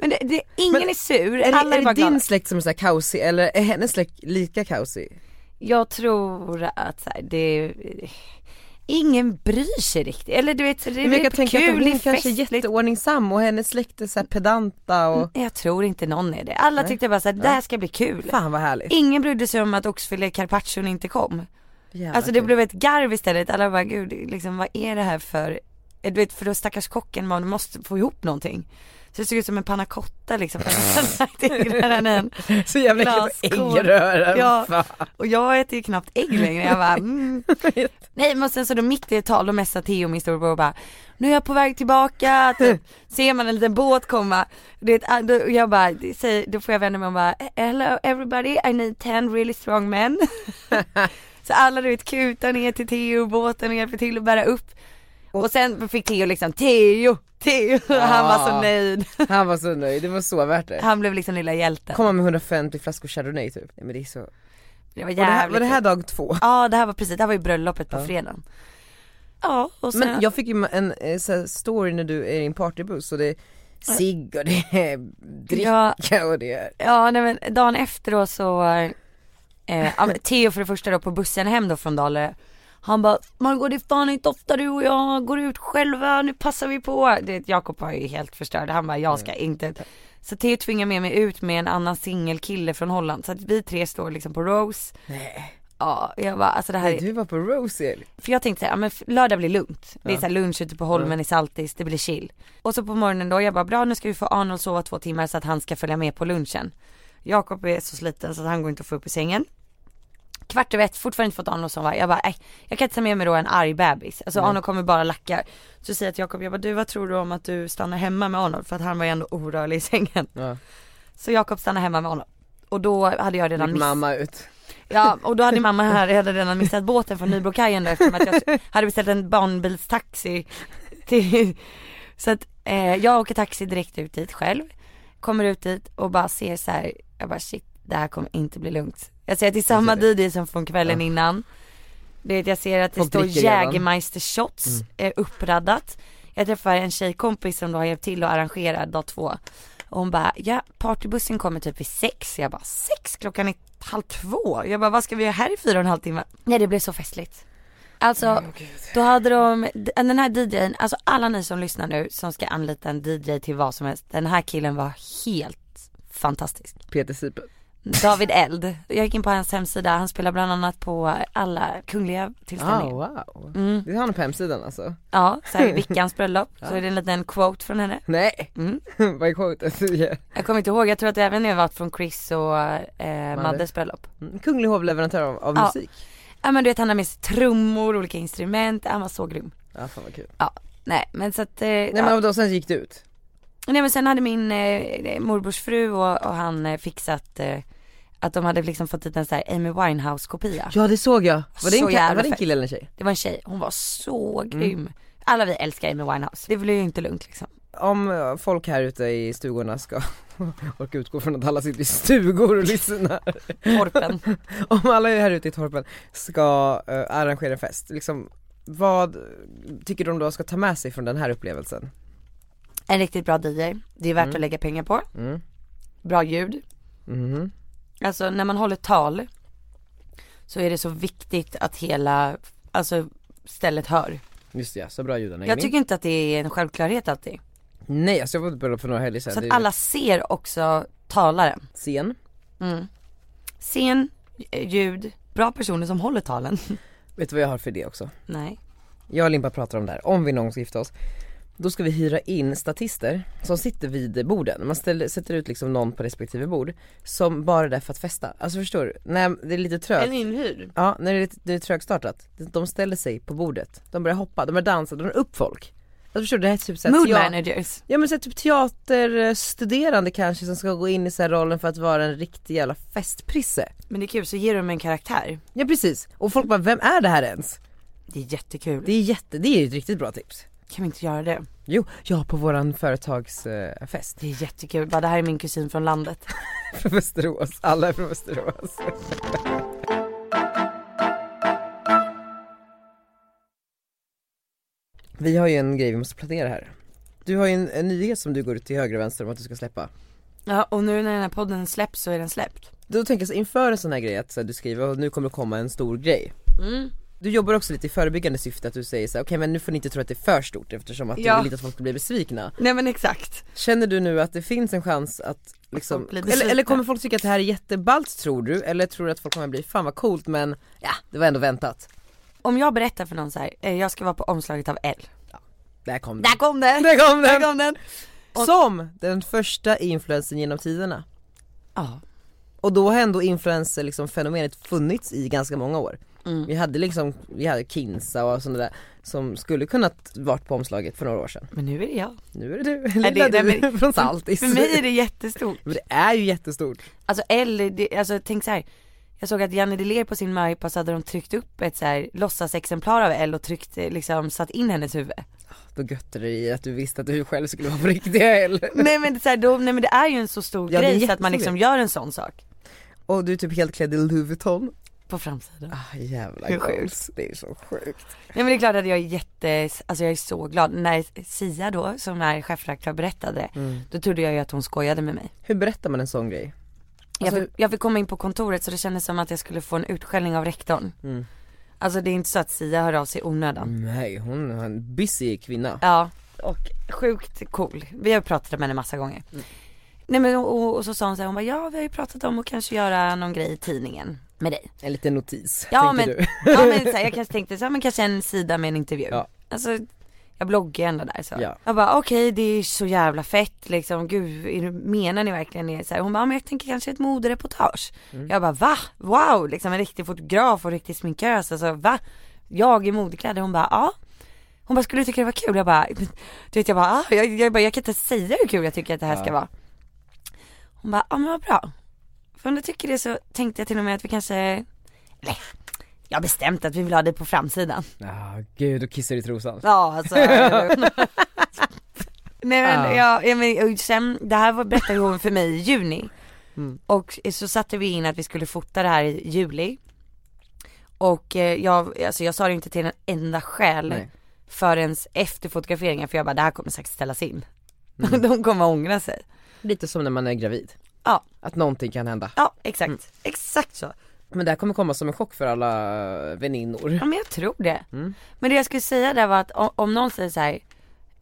Speaker 2: Men det, det, ingen
Speaker 1: Men
Speaker 2: är sur,
Speaker 1: Är
Speaker 2: alla
Speaker 1: det,
Speaker 2: är,
Speaker 1: är det
Speaker 2: bara glada.
Speaker 1: din släkt som är så här kaosig eller är hennes släkt lika kaosig?
Speaker 2: Jag tror att så här, det, ingen bryr sig riktigt, eller du vet, så det är
Speaker 1: Men jag kan
Speaker 2: lite
Speaker 1: tänka att
Speaker 2: kul,
Speaker 1: hon
Speaker 2: det är
Speaker 1: kanske är
Speaker 2: festligt. Mm.
Speaker 1: jätteordningsam och hennes släkt är så här pedanta och
Speaker 2: Jag tror inte någon är det, alla tyckte bara så här, det här ska bli kul.
Speaker 1: fan vad härligt.
Speaker 2: Ingen brydde sig om att oxfilé carpaccion inte kom.
Speaker 1: Jävla
Speaker 2: Alltså det
Speaker 1: kul.
Speaker 2: blev ett garv istället, alla bara gud liksom vad är det här för, Eh, du vet för då stackars kocken man måste få ihop någonting. Så det såg ut som en panna cotta liksom, en
Speaker 1: så jävla äckligt
Speaker 2: glasskål.
Speaker 1: med äggröra.
Speaker 2: Ja.
Speaker 1: Fan.
Speaker 2: och jag äter ju knappt ägg längre, jag bara mm. Nej men sen så då mitt i ett tal, då messar Theo min storebror och bara Nu är jag på väg tillbaka, typ. ser man en liten båt komma Du vet, ah, då- och jag bara, säger, då får jag vända mig och bara "Eh, Hello everybody, I need 10 really strong men Så alla du vet kutar ner till Theo och båten och hjälper till att bära upp Och sen fick Theo liksom Theo, Theo, han var
Speaker 1: Ah.
Speaker 2: så nöjd
Speaker 1: Han var så nöjd, det var så värt det.
Speaker 2: Han blev liksom lilla hjälten
Speaker 1: Komma med 150 flaskor chardonnay typ. Nej men det är så. Var
Speaker 2: Det var
Speaker 1: det, här,
Speaker 2: jävligt
Speaker 1: var det här dag två?
Speaker 2: Ja det här var precis, det här var ju bröllopet på fredagen Ja och sen
Speaker 1: Men jag fick ju en eh, så här, story när du är i en partybuss och det är cigg och det är dricka och det är
Speaker 2: Ja nej men dagen efter då så, eh, ja, men Theo för det första då på bussen hem då från Dalarö Han bara, Margot det är fan inte ofta du och jag går ut själva, nu passar vi på. Det, Jakob var ju helt förstörd, han bara jag ska inte. Så Theo tvingar med mig ut med en annan singelkille från Holland, så att vi tre står liksom på Rose. Ja, jag bara alltså det här är
Speaker 1: Du var på Rosie
Speaker 2: för jag tänkte såhär, ja men f- lördag blir lugnt. Det är såhär lunch ute på Holmen i Saltis, det blir chill. Och så på morgonen då, jag bara bra nu ska vi få Arnold sova två timmar så att han ska följa med på lunchen. Jakob är så sliten så att han går inte att få upp i sängen. Kvart över ett, fortfarande inte fått Arnold att sova. Jag bara, nej, jag kan inte ta med mig då en arg bebis. Alltså Arnold kommer bara lacka. Så säger jag till Jakob, jag bara du vad tror du om att du stannar hemma med Arnold? För att han var ju ändå orörlig i sängen.
Speaker 1: Ja.
Speaker 2: Så Jakob stannar hemma med Arnold. Och då hade jag redan
Speaker 1: gick
Speaker 2: missat
Speaker 1: mamma ut.
Speaker 2: Ja och då hade mamma här, jag hade redan missat båten från Nybrokajen då eftersom att jag hade beställt en barnbilstaxi till, så att eh, jag åker taxi direkt ut dit själv, kommer ut dit och bara ser så här, jag bara shit det här kommer inte bli lugnt. Jag ser att det är samma DJ som från kvällen innan, du vet jag ser att det
Speaker 1: Folk
Speaker 2: står
Speaker 1: dricker redan. Mm.
Speaker 2: Jägermeister shots eh, uppraddat. Jag träffar en tjejkompis som då har hjälpt till att arrangera dag två och hon bara, ja partybussen kommer typ vid sex. Jag bara, sex? Klockan är halv två. Jag bara, vad ska vi göra här i fyra och en halv timme? Nej det blev så festligt. Alltså, då hade de, d- den här DJn, alltså alla ni som lyssnar nu som ska anlita en DJ till vad som helst. Den här killen var helt fantastisk.
Speaker 1: Peter Sipen.
Speaker 2: David Eld. Jag gick in på hans hemsida, han spelar bland annat på alla kungliga
Speaker 1: Ah
Speaker 2: tillställningar.
Speaker 1: wow.
Speaker 2: Mm.
Speaker 1: Det har han på hemsidan alltså.
Speaker 2: Ja, så här i Vickans bröllop, så är det en liten quote från henne.
Speaker 1: Nej.
Speaker 2: Mm.
Speaker 1: Vad är quotet?
Speaker 2: Jag kommer inte ihåg, jag tror att det även har varit från Chris och eh, Maddes bröllop.
Speaker 1: Mm. Kunglig hovleverantör av, av
Speaker 2: Ja.
Speaker 1: musik.
Speaker 2: Ja men du vet han har med sig trummor, olika instrument, han var så grym.
Speaker 1: Ja fan vad kul.
Speaker 2: Ja, nej men så att, eh, nej,
Speaker 1: Nej
Speaker 2: men...
Speaker 1: men
Speaker 2: Ja.
Speaker 1: och då sen gick du ut.
Speaker 2: nej men sen hade min eh, morbrors fru och, och han eh, fixat eh, att de hade liksom fått dit en sån här Amy Winehouse kopia.
Speaker 1: Ja det såg jag. Var det en,
Speaker 2: Så
Speaker 1: ka-
Speaker 2: jävla
Speaker 1: var det en
Speaker 2: fett.
Speaker 1: kille eller en tjej?
Speaker 2: Det var en tjej, hon var så
Speaker 1: Mm.
Speaker 2: grym. Alla vi älskar Amy Winehouse, det blev ju inte lugnt liksom.
Speaker 1: Om eh, folk här ute i stugorna ska orka utgå från att alla sitter i stugor och lyssnar.
Speaker 2: Korpen.
Speaker 1: Om alla här ute i torpen ska eh, arrangera en fest, liksom, vad tycker de då ska ta med sig från den här upplevelsen?
Speaker 2: en riktigt bra DJ, det är värt
Speaker 1: Mm.
Speaker 2: att lägga pengar på.
Speaker 1: Mhm.
Speaker 2: Bra ljud. Alltså när man håller tal så är det så viktigt att hela, alltså stället hör.
Speaker 1: Just det, ja, så bra judarna är
Speaker 2: Jag
Speaker 1: in.
Speaker 2: tycker inte att det är en självklarhet alltid.
Speaker 1: Nej alltså jag var på ett bröllop för några helger sedan
Speaker 2: Så
Speaker 1: Det
Speaker 2: att
Speaker 1: är
Speaker 2: alla ser också talaren.
Speaker 1: Scen,
Speaker 2: Scen, eh, ljud, bra personer som håller talen.
Speaker 1: vet du vad jag har för det också?
Speaker 2: Nej.
Speaker 1: Jag och Limpa pratar om det här, om vi någon gång ska gifta oss Då ska vi hyra in statister som sitter vid borden, man ställer, sätter ut liksom någon på respektive bord Som bara är där för att festa, alltså förstår du? När det är lite trögt
Speaker 2: inhyrd.
Speaker 1: Ja, när det är, lite- det är trögstartat, de ställer sig på bordet, de börjar hoppa, de börjar dansa, de drar upp folk Alltså förstår du, det här är typ såhär
Speaker 2: Mood managers.
Speaker 1: Ja men så här, typ teaterstuderande kanske som ska gå in i så här rollen för att vara en riktig jävla festprisse
Speaker 2: Men det är kul, så ger de en karaktär.
Speaker 1: Ja precis, och folk bara vem är det här ens?
Speaker 2: Det är jättekul.
Speaker 1: Det är jätte, det är ju ett riktigt bra tips
Speaker 2: Kan vi inte göra det?
Speaker 1: Jo, ja på våran eh, företagsfest
Speaker 2: Det är jättekul. Bara det här är min kusin från landet.
Speaker 1: från Västerås, alla är från Västerås Vi har ju en grej vi måste planera här Du har ju en, en nyhet som du går ut till höger och vänster om att du ska släppa
Speaker 2: Ja, och nu när den här podden släpps så är den släppt.
Speaker 1: Då tänker jag så inför en sån här grej att så här, du skriver och nu kommer det komma en stor grej
Speaker 2: Mm.
Speaker 1: Du jobbar också lite i förebyggande syfte att du säger så här, okej men nu får ni inte tro att det är för stort eftersom att
Speaker 2: Ja.
Speaker 1: du vill inte att folk ska bli besvikna
Speaker 2: Nej men exakt.
Speaker 1: Känner du nu att det finns en chans att liksom,
Speaker 2: folk blir
Speaker 1: eller,
Speaker 2: besvikna.
Speaker 1: eller kommer folk tycka att det här är jätteballt tror du? Eller tror du att folk kommer bli, fan vad coolt men ja det var ändå väntat
Speaker 2: Om jag berättar för någon så här, eh, jag ska vara på omslaget av L.
Speaker 1: Där kom den!
Speaker 2: Där kom den!
Speaker 1: Där kom
Speaker 2: Där
Speaker 1: den!
Speaker 2: kom den! Och-
Speaker 1: Som den första influensen genom tiderna
Speaker 2: Ja.
Speaker 1: Och då har ändå influencer liksom fenomenet funnits i ganska många år
Speaker 2: Mm.
Speaker 1: Vi hade liksom, vi hade Kinsa och sådana där som skulle kunnat varit på omslaget för några år sedan
Speaker 2: Men nu är det jag.
Speaker 1: Nu är det du,
Speaker 2: Nej,
Speaker 1: lilla
Speaker 2: det-
Speaker 1: du
Speaker 2: nej, men-
Speaker 1: från Saltis
Speaker 2: För mig är det jättestort.
Speaker 1: Men det är ju jättestort
Speaker 2: Alltså L, det, alltså tänk så här. Jag såg att Janne Deler på sin Maripa så hade de tryckt upp ett så här låtsasexemplar av L och tryckt eh, liksom satt in hennes huvud.
Speaker 1: Då götte det i att du visste att du själv skulle vara på riktiga L
Speaker 2: nej men det, är så här, då, nej men det är ju en så stor
Speaker 1: Ja, det är
Speaker 2: grej så att man
Speaker 1: jättestor
Speaker 2: liksom gör en sån sak.
Speaker 1: Och du är typ helt klädd i Louis Vuitton
Speaker 2: På framsidan.
Speaker 1: ah, Jävla
Speaker 2: Hur sjukt?
Speaker 1: goals, det är så sjukt
Speaker 2: Nej men det är klart att jag är jätte, alltså jag är så glad. När Sia då, som är chefredaktör berättade det,
Speaker 1: Mm.
Speaker 2: då trodde jag ju att hon skojade med mig.
Speaker 1: Hur berättar man en sån grej? Alltså-
Speaker 2: jag, fick, jag fick komma in på kontoret så det kändes som att jag skulle få en utskällning av rektorn.
Speaker 1: Mm.
Speaker 2: Alltså det är inte så att Sia hör av sig i onödan.
Speaker 1: Nej hon är en busy kvinna
Speaker 2: Ja, och sjukt cool. Vi har pratat med henne massa gånger. Nej men och, och så sa hon så här, hon bara, ja vi har ju pratat om att kanske göra någon grej i tidningen med dig.
Speaker 1: En liten notis,
Speaker 2: Ja men,
Speaker 1: tänker du
Speaker 2: ja, men så här, jag kanske tänkte så här, men kanske en sida med en intervju.
Speaker 1: Ja.
Speaker 2: Alltså jag bloggar ju ändå där så.
Speaker 1: Ja.
Speaker 2: Jag bara okej det är så jävla fett liksom, gud är det- menar ni verkligen det? Så här, hon bara, ja, men jag tänker kanske ett modereportage.
Speaker 1: Mm.
Speaker 2: Jag bara va? Wow, liksom en riktig fotograf och riktig sminkös, alltså va? Jag i modekläder, hon bara ja. Hon bara skulle du tycka det var kul? Jag bara, du vet jag bara, ah, jag, jag, bara jag kan inte säga hur kul jag tycker att det här ska vara. Hon bara, ja men vad bra. För om du tycker det så tänkte jag till och med att vi kanske, eller jag har bestämt att vi vill ha dig på framsidan.
Speaker 1: Ja Ah, gud, då kissar du i trosan
Speaker 2: Ja alltså Nej men ja, ja men och sen, det här var, berättade hon för mig i juni Och så satte vi in att vi skulle fota det här i juli Och eh, jag, alltså jag sa det inte till en enda själ
Speaker 1: Nej.
Speaker 2: Förrän efter fotograferingen för jag bara det här kommer säkert ställas in De kommer ångra sig
Speaker 1: Lite som när man är gravid
Speaker 2: Ja,
Speaker 1: Att någonting kan hända
Speaker 2: ja exakt, exakt så
Speaker 1: Men det här kommer komma som en chock för alla väninnor
Speaker 2: Ja men jag tror det.
Speaker 1: Mm.
Speaker 2: Men det jag skulle säga där var att om, om någon säger så här,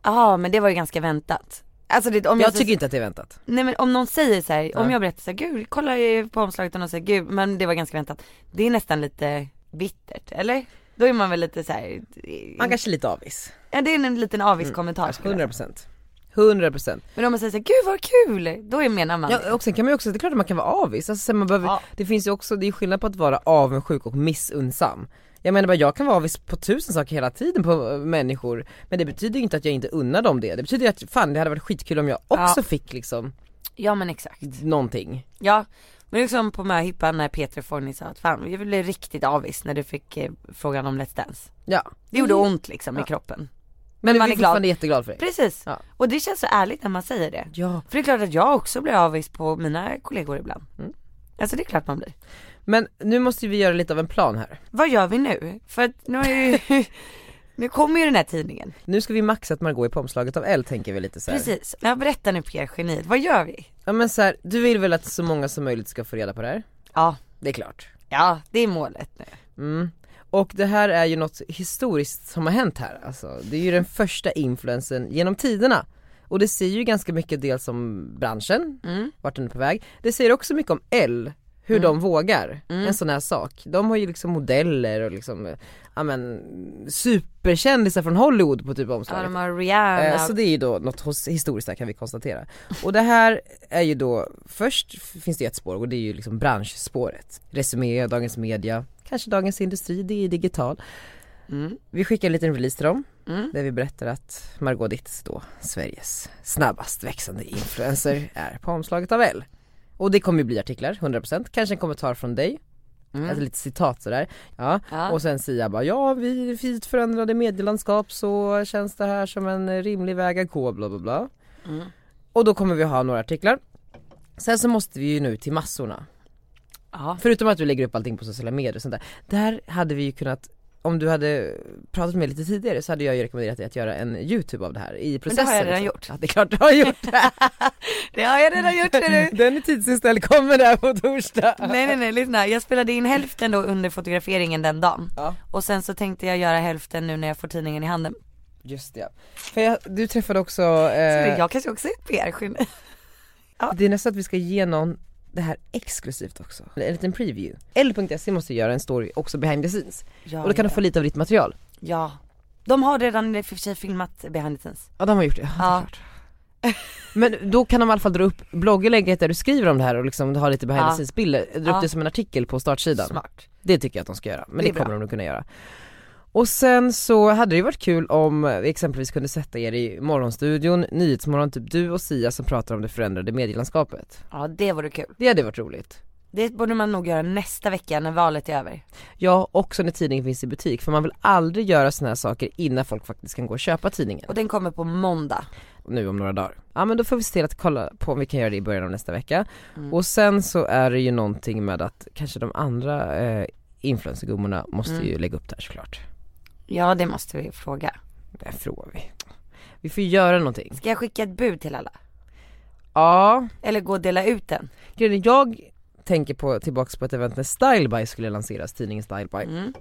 Speaker 2: ja men det var ju ganska väntat. Alltså det, om jag,
Speaker 1: Jag tycker inte att det är väntat
Speaker 2: nej men om någon säger så här, om jag berättar så här, gud kolla eh, på omslaget och någon säger gud men det var ganska väntat. Det är nästan lite bittert, eller? Då är man väl lite så här, Mm.
Speaker 1: Man Mm. kanske är lite avis
Speaker 2: ja, det är en liten avis kommentar skulle jag säga.
Speaker 1: 100% 100%
Speaker 2: Men om man säger så här, gud vad kul, då är- menar man
Speaker 1: Ja, och sen kan man ju också, det är klart att man kan vara avis, alltså, sen man behöver,
Speaker 2: Ja.
Speaker 1: det finns ju också, det är skillnad på att vara avundsjuk och missunnsam Jag menar bara, jag kan vara avis på tusen saker hela tiden på eh, människor, men det betyder ju inte att jag inte unnar dem det, det betyder ju att fan det hade varit skitkul om jag också
Speaker 2: Ja.
Speaker 1: fick liksom
Speaker 2: Ja men exakt.
Speaker 1: Mm. någonting
Speaker 2: Ja, men liksom på möhippan när Peter Forni sa att fan jag blev riktigt avis när du fick eh, frågan om Let's Dance.
Speaker 1: Ja,
Speaker 2: Det gjorde ont liksom i kroppen.
Speaker 1: men,
Speaker 2: man
Speaker 1: vi
Speaker 2: är glad.
Speaker 1: fortfarande jätteglad för det
Speaker 2: Precis.
Speaker 1: Ja.
Speaker 2: Och det känns så ärligt när man säger det.
Speaker 1: Ja,
Speaker 2: För det är klart att jag också blir avis på mina kollegor ibland.
Speaker 1: Mm.
Speaker 2: Alltså det är klart man blir.
Speaker 1: men nu måste ju vi göra lite av en plan här
Speaker 2: Vad gör vi nu? För att nu har ju, nu kommer ju den här tidningen.
Speaker 1: Nu ska vi maxa att Margot är på omslaget av L tänker vi lite så här.
Speaker 2: Precis. Jag berättar nu Pierre Geniet, vad gör vi?
Speaker 1: Ja men så här, du vill väl att så många som möjligt ska få reda på det här?
Speaker 2: Ja,
Speaker 1: Det är klart
Speaker 2: Ja, det är målet nu.
Speaker 1: Mm. Och det här är ju något historiskt som har hänt här alltså. Det är ju den första influensen genom tiderna. Och det säger ju ganska mycket dels om branschen,
Speaker 2: Mm.
Speaker 1: vart den är på väg. Det säger också mycket om L, hur de vågar
Speaker 2: Mm.
Speaker 1: en sån här sak. De har ju liksom modeller och liksom, eh, ja men superkändisar från Hollywood på typ
Speaker 2: Ja,
Speaker 1: omslaget.
Speaker 2: de har Rihanna.
Speaker 1: Eh, Så det är ju då något hos- historiskt där kan vi konstatera. Och det här är ju då, först f- finns det ju ett spår och det är ju liksom branschspåret. Resumé, Dagens Media, kanske Dagens Industri, det är digital. Vi skickar en liten release till dem, där vi berättar att Margot Ditz då, Sveriges snabbast växande influencer, är på omslaget av L. Och det kommer ju bli artiklar, 100%, kanske en kommentar från dig. Alltså lite citat sådär. Ja.
Speaker 2: Mm. Ja.
Speaker 1: Och sen Sia bara, ja vi vid förändrade medielandskap så känns det här som en rimlig väg att gå bla bla bla.
Speaker 2: Mm.
Speaker 1: Och då kommer vi ha några artiklar. Sen så måste vi ju nu till massorna.
Speaker 2: ja.
Speaker 1: Förutom att vi lägger upp allting på sociala medier och sånt där. Där hade vi ju kunnat, om du hade pratat med mig lite tidigare så hade jag ju rekommenderat dig att göra en YouTube av det här i processen.
Speaker 2: har jag redan
Speaker 1: liksom.
Speaker 2: gjort.
Speaker 1: Ja det är klart du har gjort.
Speaker 2: Det har jag redan gjort ser du.
Speaker 1: Den är tidsinställd, kommer där på torsdag.
Speaker 2: Nej nej nej lyssna, jag spelade in hälften då under fotograferingen den dagen.
Speaker 1: Ja.
Speaker 2: Och sen så tänkte jag göra hälften nu när jag får tidningen i handen.
Speaker 1: Just det ja. För jag, du träffade också
Speaker 2: Så
Speaker 1: eh,
Speaker 2: det, jag kanske också är ett PR-geni.
Speaker 1: Det är nästan att vi ska ge någon det här exklusivt också. En liten preview. L.se måste göra en story också behind the scenes.
Speaker 2: Ja,
Speaker 1: och då kan
Speaker 2: ja.
Speaker 1: de få lite av ditt material.
Speaker 2: Ja. De har redan i och för sig filmat behind the scenes.
Speaker 1: Ja de har gjort det.
Speaker 2: Ja.
Speaker 1: Men då kan de i alla fall dra upp blogginlägget där du skriver om det här och liksom ha lite behind the
Speaker 2: Ja.
Speaker 1: scenes bilder. Dra upp
Speaker 2: Ja.
Speaker 1: det som en artikel på startsidan.
Speaker 2: Smart.
Speaker 1: Det tycker jag att de ska göra, men det,
Speaker 2: Det är bra.
Speaker 1: kommer de nog kunna göra. Och sen så hade det ju varit kul om vi exempelvis kunde sätta er i morgonstudion, Nyhetsmorgon, typ du och Sia som pratar om det förändrade medielandskapet.
Speaker 2: Ja det vore kul.
Speaker 1: Det hade varit roligt.
Speaker 2: Det borde man nog göra nästa vecka när valet är över.
Speaker 1: Ja, också när tidningen finns i butik för man vill aldrig göra såna här saker innan folk faktiskt kan gå och köpa tidningen.
Speaker 2: Och den kommer på måndag.
Speaker 1: Nu om några dagar. Ja men då får vi se till att kolla på om vi kan göra det i början av nästa vecka. Och sen så är det ju någonting med att kanske de andra eh, influencergummorna måste ju lägga upp det här såklart.
Speaker 2: Ja det måste vi fråga.
Speaker 1: Det frågar vi. Vi får ju göra någonting.
Speaker 2: Ska jag skicka ett bud till alla?
Speaker 1: Ja,
Speaker 2: Eller gå och dela ut den?
Speaker 1: grejen är, jag tänker på, tillbaks på ett event när Styleby skulle lanseras, tidningen Styleby.
Speaker 2: Mm.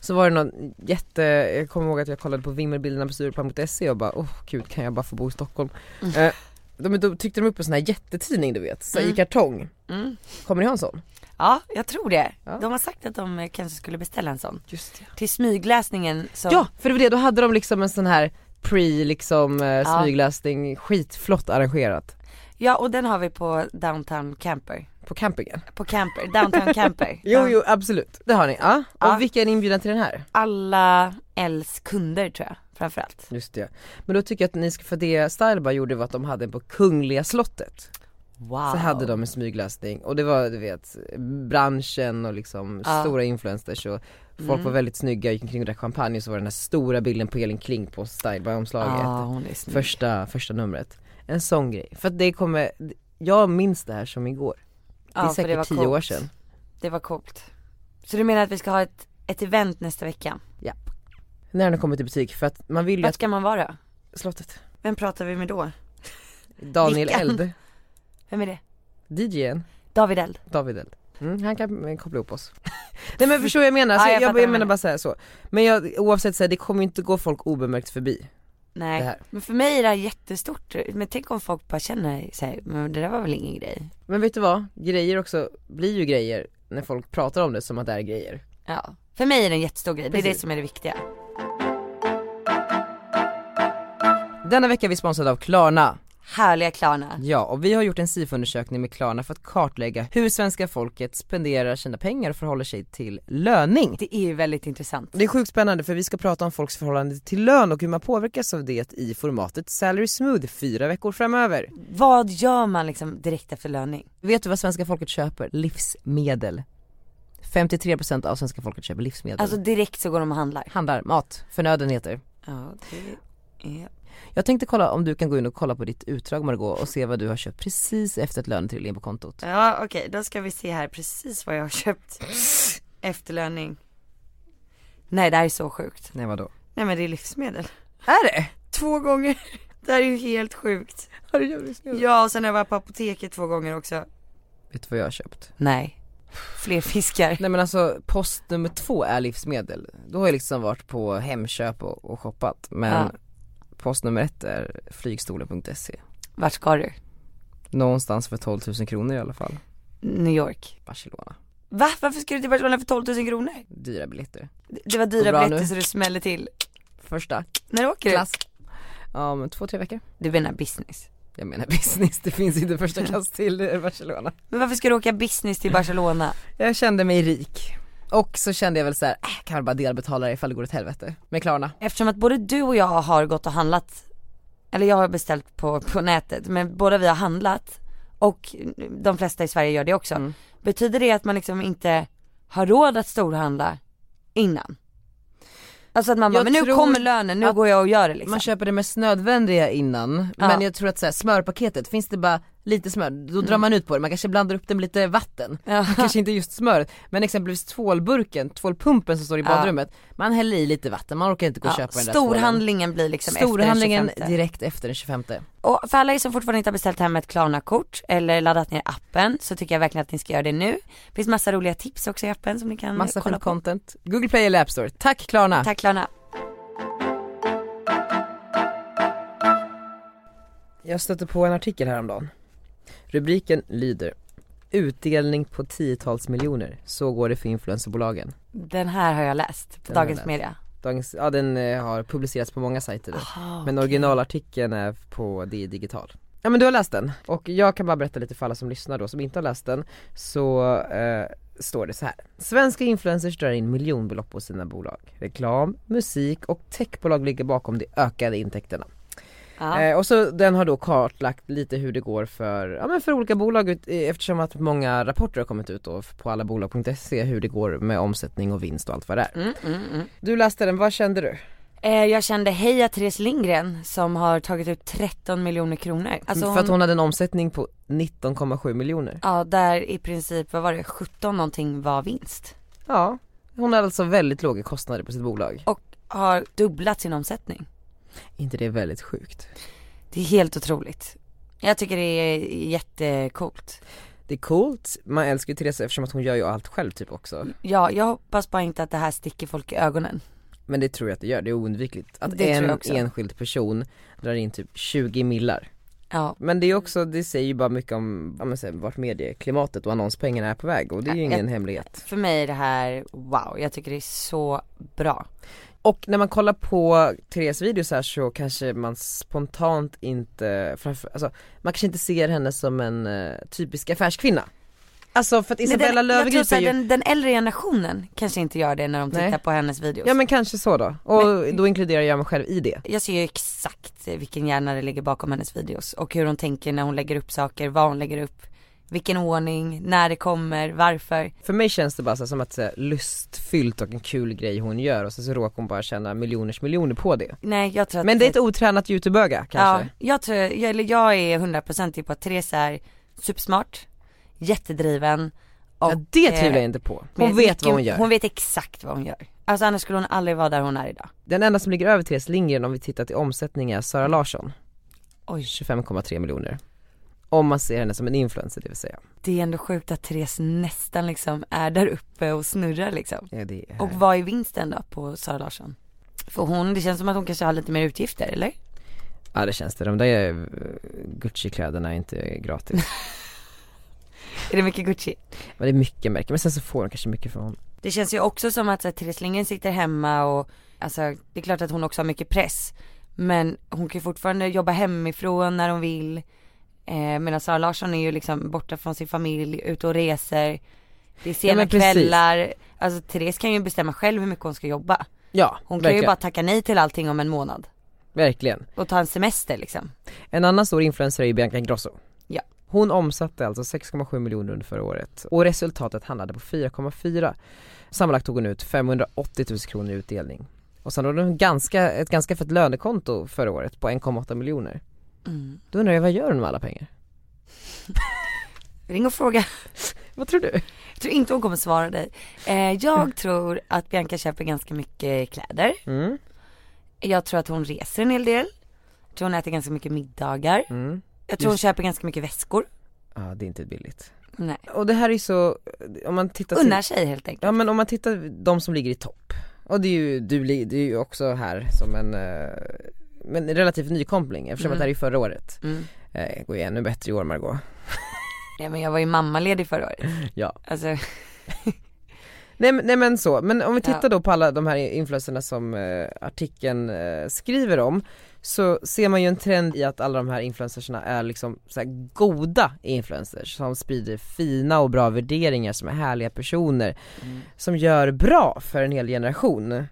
Speaker 1: Så var det någon jätte, jag kommer ihåg att jag kollade på vimmelbilderna på Stureplan.se E och bara åh gud kan jag bara få bo i Stockholm.
Speaker 2: Mm.
Speaker 1: Eh, de, då tryckte de upp en sån här jättetidning du vet, så här i kartong.
Speaker 2: Mm.
Speaker 1: Kommer ni ha en sån?
Speaker 2: Ja, jag tror det.
Speaker 1: Ja.
Speaker 2: De har sagt att de eh, kanske skulle beställa en sån.
Speaker 1: Just det.
Speaker 2: Till smygläsningen så
Speaker 1: Ja, för det var det, då hade de liksom en sån här pre liksom eh,
Speaker 2: Ja.
Speaker 1: smygläsning, skitflott arrangerat
Speaker 2: Ja, och den har vi på downtown camper.
Speaker 1: på campingen.
Speaker 2: På camper, downtown camper.
Speaker 1: Jo,
Speaker 2: Ja.
Speaker 1: jo absolut, det har ni. Ja. Och
Speaker 2: Ja.
Speaker 1: vilka är ni inbjudna till den här?
Speaker 2: Alla Els kunder tror jag, framförallt.
Speaker 1: Just det. Men då tycker jag att ni ska, för det Styleby gjorde var att de hade en på Kungliga slottet.
Speaker 2: Wow.
Speaker 1: Så
Speaker 2: Ah.
Speaker 1: hade de en smygläsning och det var du vet branschen och liksom
Speaker 2: Ja.
Speaker 1: stora influencers och folk
Speaker 2: Mm.
Speaker 1: var väldigt snygga, gick omkring och drack champagne och så var det den här stora bilden på Elin Kling på Styleby omslaget.
Speaker 2: Ja, hon är snygg.
Speaker 1: Första, första numret. En sån grej. För att det kommer, jag minns det här som igår. Det är
Speaker 2: Ja, för
Speaker 1: säkert
Speaker 2: var
Speaker 1: tio
Speaker 2: coolt.
Speaker 1: år sedan.
Speaker 2: Det var coolt. Så du menar att vi ska ha ett, ett event nästa vecka?
Speaker 1: När den har kommit i butik för att man vill ju
Speaker 2: Vart
Speaker 1: att
Speaker 2: ska man vara då?
Speaker 1: slottet,
Speaker 2: Vem pratar vi med då?
Speaker 1: Daniel
Speaker 2: Vilken?
Speaker 1: Eld,
Speaker 2: Vem är det?
Speaker 1: DJn,
Speaker 2: David Eld.
Speaker 1: David Eld. Mm, han kan eh, koppla ihop oss. Nej men förstår vad jag menar, alltså,
Speaker 2: Ja,
Speaker 1: jag,
Speaker 2: jag
Speaker 1: jag,
Speaker 2: fattar vad du
Speaker 1: menar
Speaker 2: menar.
Speaker 1: bara så här, så. Men jag, oavsett så här, det kommer ju inte gå folk obemärkt förbi. Det
Speaker 2: Nej,
Speaker 1: här.
Speaker 2: men för mig är det här jättestort. Men tänk om folk bara känner sig, men det där var väl ingen grej.
Speaker 1: Men vet du vad, grejer också blir ju grejer när folk pratar om det som att det är grejer.
Speaker 2: Ja. För mig är det en jättestor grej, det är det
Speaker 1: Precis.
Speaker 2: som är det viktiga.
Speaker 1: Denna vecka är vi sponsrade av Klarna.
Speaker 2: Härliga Klarna.
Speaker 1: Ja, och vi har gjort en SIFO-undersökning med Klarna för att kartlägga hur svenska folket spenderar sina pengar och förhåller sig till löning.
Speaker 2: Det är ju väldigt intressant.
Speaker 1: Det är sjukt spännande för vi ska prata om folks förhållande till lön och hur man påverkas av det i formatet Salary Smooth fyra veckor framöver.
Speaker 2: Vad gör man liksom direkt efter löning?
Speaker 1: Vet du vad svenska folket köper? Livsmedel. 53% av svenska folket köper livsmedel.
Speaker 2: Alltså direkt så går de och handlar.
Speaker 1: handlar mat, förnödenheter.
Speaker 2: Ja, det är...
Speaker 1: Jag tänkte kolla om du kan gå in och kolla på ditt utdrag Margot och se vad du har köpt precis efter att lönen trillade in på kontot.
Speaker 2: Ja okej, då ska vi se här precis vad jag har köpt efter löning. Nej det här är så sjukt.
Speaker 1: Nej vadå?
Speaker 2: Nej men det är livsmedel.
Speaker 1: Är det?
Speaker 2: Två gånger. Det här är ju helt sjukt.
Speaker 1: Har du köpt livsmedel?
Speaker 2: Ja och sen har jag varit på apoteket två gånger också.
Speaker 1: Vet du vad jag har köpt?
Speaker 2: Nej. fler fiskar.
Speaker 1: Nej men alltså post nummer två är livsmedel. Då har jag liksom varit på Hemköp och, och shoppat men
Speaker 2: Ja.
Speaker 1: post nummer ett är flygstolen.se.
Speaker 2: Vart ska du?
Speaker 1: Någonstans för 12 000 kronor i alla fall.
Speaker 2: New York.
Speaker 1: Barcelona.
Speaker 2: Va? Varför ska du till Barcelona för 12 000 kronor?
Speaker 1: Dyra biljetter.
Speaker 2: Det- Det var
Speaker 1: Går
Speaker 2: dyra
Speaker 1: bra
Speaker 2: biljetter
Speaker 1: nu.
Speaker 2: så det smäller till.
Speaker 1: Första
Speaker 2: När åker
Speaker 1: klass. Om två, tre veckor.
Speaker 2: du? Du menar business.
Speaker 1: Jag menar business, det finns inte första klass till eh, Barcelona.
Speaker 2: Men varför ska du åka business till Barcelona?
Speaker 1: Jag kände mig rik. Och så kände jag väl såhär, äh, kan väl bara delbetala det ifall det går åt helvete. Med Klarna.
Speaker 2: Eftersom att både du och jag har gått och handlat, eller jag har beställt på, på nätet, men båda vi har handlat och de flesta i Sverige gör det också.
Speaker 1: Mm.
Speaker 2: Betyder det att man liksom inte har råd att storhandla innan? Alltså att man bara,
Speaker 1: Jag
Speaker 2: men nu
Speaker 1: tror
Speaker 2: kommer lönen, nu
Speaker 1: att
Speaker 2: går jag och gör det liksom.
Speaker 1: Man köper det mest nödvändiga innan,
Speaker 2: Ja.
Speaker 1: men jag tror att så här, smörpaketet, finns det bara lite smör, då drar man ut på det, man kanske blandar upp det med lite vatten.
Speaker 2: Ja.
Speaker 1: Kanske inte just smöret, men exempelvis tvålburken, tvålpumpen som står i
Speaker 2: Ja.
Speaker 1: badrummet, man häller i lite vatten, man orkar inte gå och köpa den där tvålen.
Speaker 2: Storhandlingen blir liksom
Speaker 1: Storhandlingen
Speaker 2: efter den 25.
Speaker 1: direkt efter den 25.
Speaker 2: Och för alla er som fortfarande inte har beställt hem ett Klarna-kort eller laddat ner appen så tycker jag verkligen att ni ska göra det nu. Det finns massa roliga tips också i appen som ni kan
Speaker 1: Massa
Speaker 2: Mm, kolla
Speaker 1: skön
Speaker 2: på.
Speaker 1: content. Google Play eller App Store. Tack Klarna!
Speaker 2: Tack Klarna.
Speaker 1: Jag stötte på en artikel häromdagen. Rubriken lyder Utdelning på tiotals miljoner, så går det för influencerbolagen.
Speaker 2: Den här har jag läst på
Speaker 1: Den har jag
Speaker 2: Dagens
Speaker 1: läst.
Speaker 2: Media.
Speaker 1: Dagens, ja den eh, har publicerats på många sajter nu.
Speaker 2: Aha,
Speaker 1: Men
Speaker 2: okej.
Speaker 1: originalartikeln är på DI Digital. Ja men du har läst den och jag kan bara berätta lite för alla som lyssnar då som inte har läst den så eh, står det så här. Svenska influencers drar in miljonbelopp på sina bolag. Reklam, musik och techbolag ligger bakom de ökade intäkterna.
Speaker 2: Ja.
Speaker 1: Eh, och så den har då kartlagt lite hur det går för, ja, men för olika bolag ut, eh, eftersom att många rapporter har kommit ut då på allabolag.se hur det går med omsättning och vinst och allt vad det är.
Speaker 2: Mm, mm, mm.
Speaker 1: Du läste den, vad kände du?
Speaker 2: Eh, jag kände heja Therese Lindgren som har tagit ut 13 miljoner kronor. Alltså
Speaker 1: Mm, För att hon hade en omsättning på 19,7 miljoner.
Speaker 2: Ja där i princip, vad var det, 17 någonting var vinst.
Speaker 1: Ja, hon hade alltså väldigt låga kostnader på sitt bolag.
Speaker 2: Och har dubblat sin omsättning.
Speaker 1: inte det väldigt sjukt?
Speaker 2: Det är helt otroligt. Jag tycker det är jättecoolt.
Speaker 1: Det är coolt, man älskar ju Therese eftersom att hon gör ju allt själv typ också.
Speaker 2: Ja, jag hoppas bara inte att det här sticker folk i ögonen.
Speaker 1: Men det tror jag att det gör, det är oundvikligt. Att
Speaker 2: Det tror jag
Speaker 1: en
Speaker 2: också.
Speaker 1: enskild person drar in typ 20 millar.
Speaker 2: Ja,
Speaker 1: Men det är också, det säger ju bara mycket om, ja men så här, vart medieklimatet och annonspengarna är på väg och det är ju
Speaker 2: Ja,
Speaker 1: ingen
Speaker 2: jag-
Speaker 1: hemlighet.
Speaker 2: för mig är det här wow, jag tycker det är så bra.
Speaker 1: Och när man kollar på Therese videos här så kanske man spontant inte, framför, alltså man kanske inte ser henne som en eh, typisk affärskvinna. Alltså för att
Speaker 2: Nej,
Speaker 1: Isabella
Speaker 2: den, jag tror
Speaker 1: Löwengrip
Speaker 2: så
Speaker 1: är
Speaker 2: här,
Speaker 1: ju,
Speaker 2: den, den äldre generationen kanske inte gör det när de tittar
Speaker 1: Nej.
Speaker 2: på hennes videos.
Speaker 1: ja men kanske så då. Och då inkluderar jag mig själv i det.
Speaker 2: Jag ser ju exakt vilken hjärna det ligger bakom hennes videos och hur hon tänker när hon lägger upp saker, vad hon lägger upp, vilken ordning, när det kommer, varför.
Speaker 1: För mig känns det bara så här, som att så här, lustfyllt och en kul grej hon gör och sen så råkar hon bara tjäna miljoners miljoner på det.
Speaker 2: Nej jag tror att
Speaker 1: Men det är ett otränat youtubeöga kanske.
Speaker 2: Ja, jag tror, jag, eller jag är hundraprocentig på att Therese är supersmart, jättedriven och
Speaker 1: Ja, det tvivlar jag
Speaker 2: eh,
Speaker 1: inte på.
Speaker 2: men
Speaker 1: Hon vet vad
Speaker 2: vilken-
Speaker 1: hon gör.
Speaker 2: Hon vet exakt vad hon gör. Alltså annars skulle hon aldrig vara där hon är idag.
Speaker 1: Den enda som ligger över Therese Lindgren om vi tittar till omsättning är Sara Larsson,
Speaker 2: Oj,
Speaker 1: 25,3 miljoner. Om man ser henne som en influencer det vill säga.
Speaker 2: det är ändå sjukt att Therese nästan liksom är där uppe och snurrar liksom.
Speaker 1: Ja, det är...
Speaker 2: Och vad är vinsten då på Sara Larsson? För hon, det känns som att hon kanske har lite mer utgifter eller?
Speaker 1: ja det känns det, de där eh, Gucci-kläderna är inte gratis.
Speaker 2: Är det mycket Gucci?
Speaker 1: Men det är mycket märke, men sen så får de kanske mycket från
Speaker 2: Det känns ju också som att så här, Therese Lindgren sitter hemma och alltså det är klart att hon också har mycket press. Men hon kan ju fortfarande jobba hemifrån när hon vill. Eh, Medan Sara Larsson är ju liksom borta från sin familj, ute och reser. Det
Speaker 1: Ja,
Speaker 2: är sena
Speaker 1: men precis.
Speaker 2: kvällar. Alltså Therese kan ju bestämma själv hur mycket hon ska jobba.
Speaker 1: Ja,
Speaker 2: Hon kan
Speaker 1: verkligen.
Speaker 2: ju bara tacka nej till allting om en månad.
Speaker 1: verkligen.
Speaker 2: Och ta en semester liksom.
Speaker 1: En annan stor influencer är ju Bianca Ingrosso.
Speaker 2: Ja.
Speaker 1: Hon omsatte alltså 6,7 miljoner under förra året och resultatet handlade på 4,4. Sammanlagt tog hon ut 580 000 kronor i utdelning. Och sen hade hon ganska, ett ganska fett lönekonto förra året på 1,8 miljoner.
Speaker 2: Mm.
Speaker 1: Då undrar jag, vad gör hon med alla pengar?
Speaker 2: Ring och fråga.
Speaker 1: Vad tror du?
Speaker 2: Jag tror inte hon kommer svara dig. Eh, jag tror att Bianca köper ganska mycket kläder.
Speaker 1: Mm,
Speaker 2: Jag tror att hon reser en hel del. Jag tror hon äter ganska mycket middagar.
Speaker 1: mm.
Speaker 2: Jag tror hon
Speaker 1: Just-
Speaker 2: köper ganska mycket väskor.
Speaker 1: Ja, det är inte billigt.
Speaker 2: Nej.
Speaker 1: Och det här är så, om man tittar till-
Speaker 2: Unnar sig helt enkelt.
Speaker 1: Ja men om man tittar, de som ligger i topp, och det är ju, du, li- det är ju också här som en, eh, men relativt nykompling eftersom
Speaker 2: Mm.
Speaker 1: att det här är förra året.
Speaker 2: Mm.
Speaker 1: Eh, det går ju ännu bättre i år Margot.
Speaker 2: Ja men jag var ju mammaledig förra året.
Speaker 1: Ja.
Speaker 2: Alltså,
Speaker 1: Nej, men- nej men så, men om vi
Speaker 2: Ja.
Speaker 1: tittar då på alla de här influencerna som eh, artikeln eh, skriver om så ser man ju en trend i att alla de här influencerserna är liksom så här goda influencers som sprider fina och bra värderingar som är härliga personer som gör bra för en hel generation.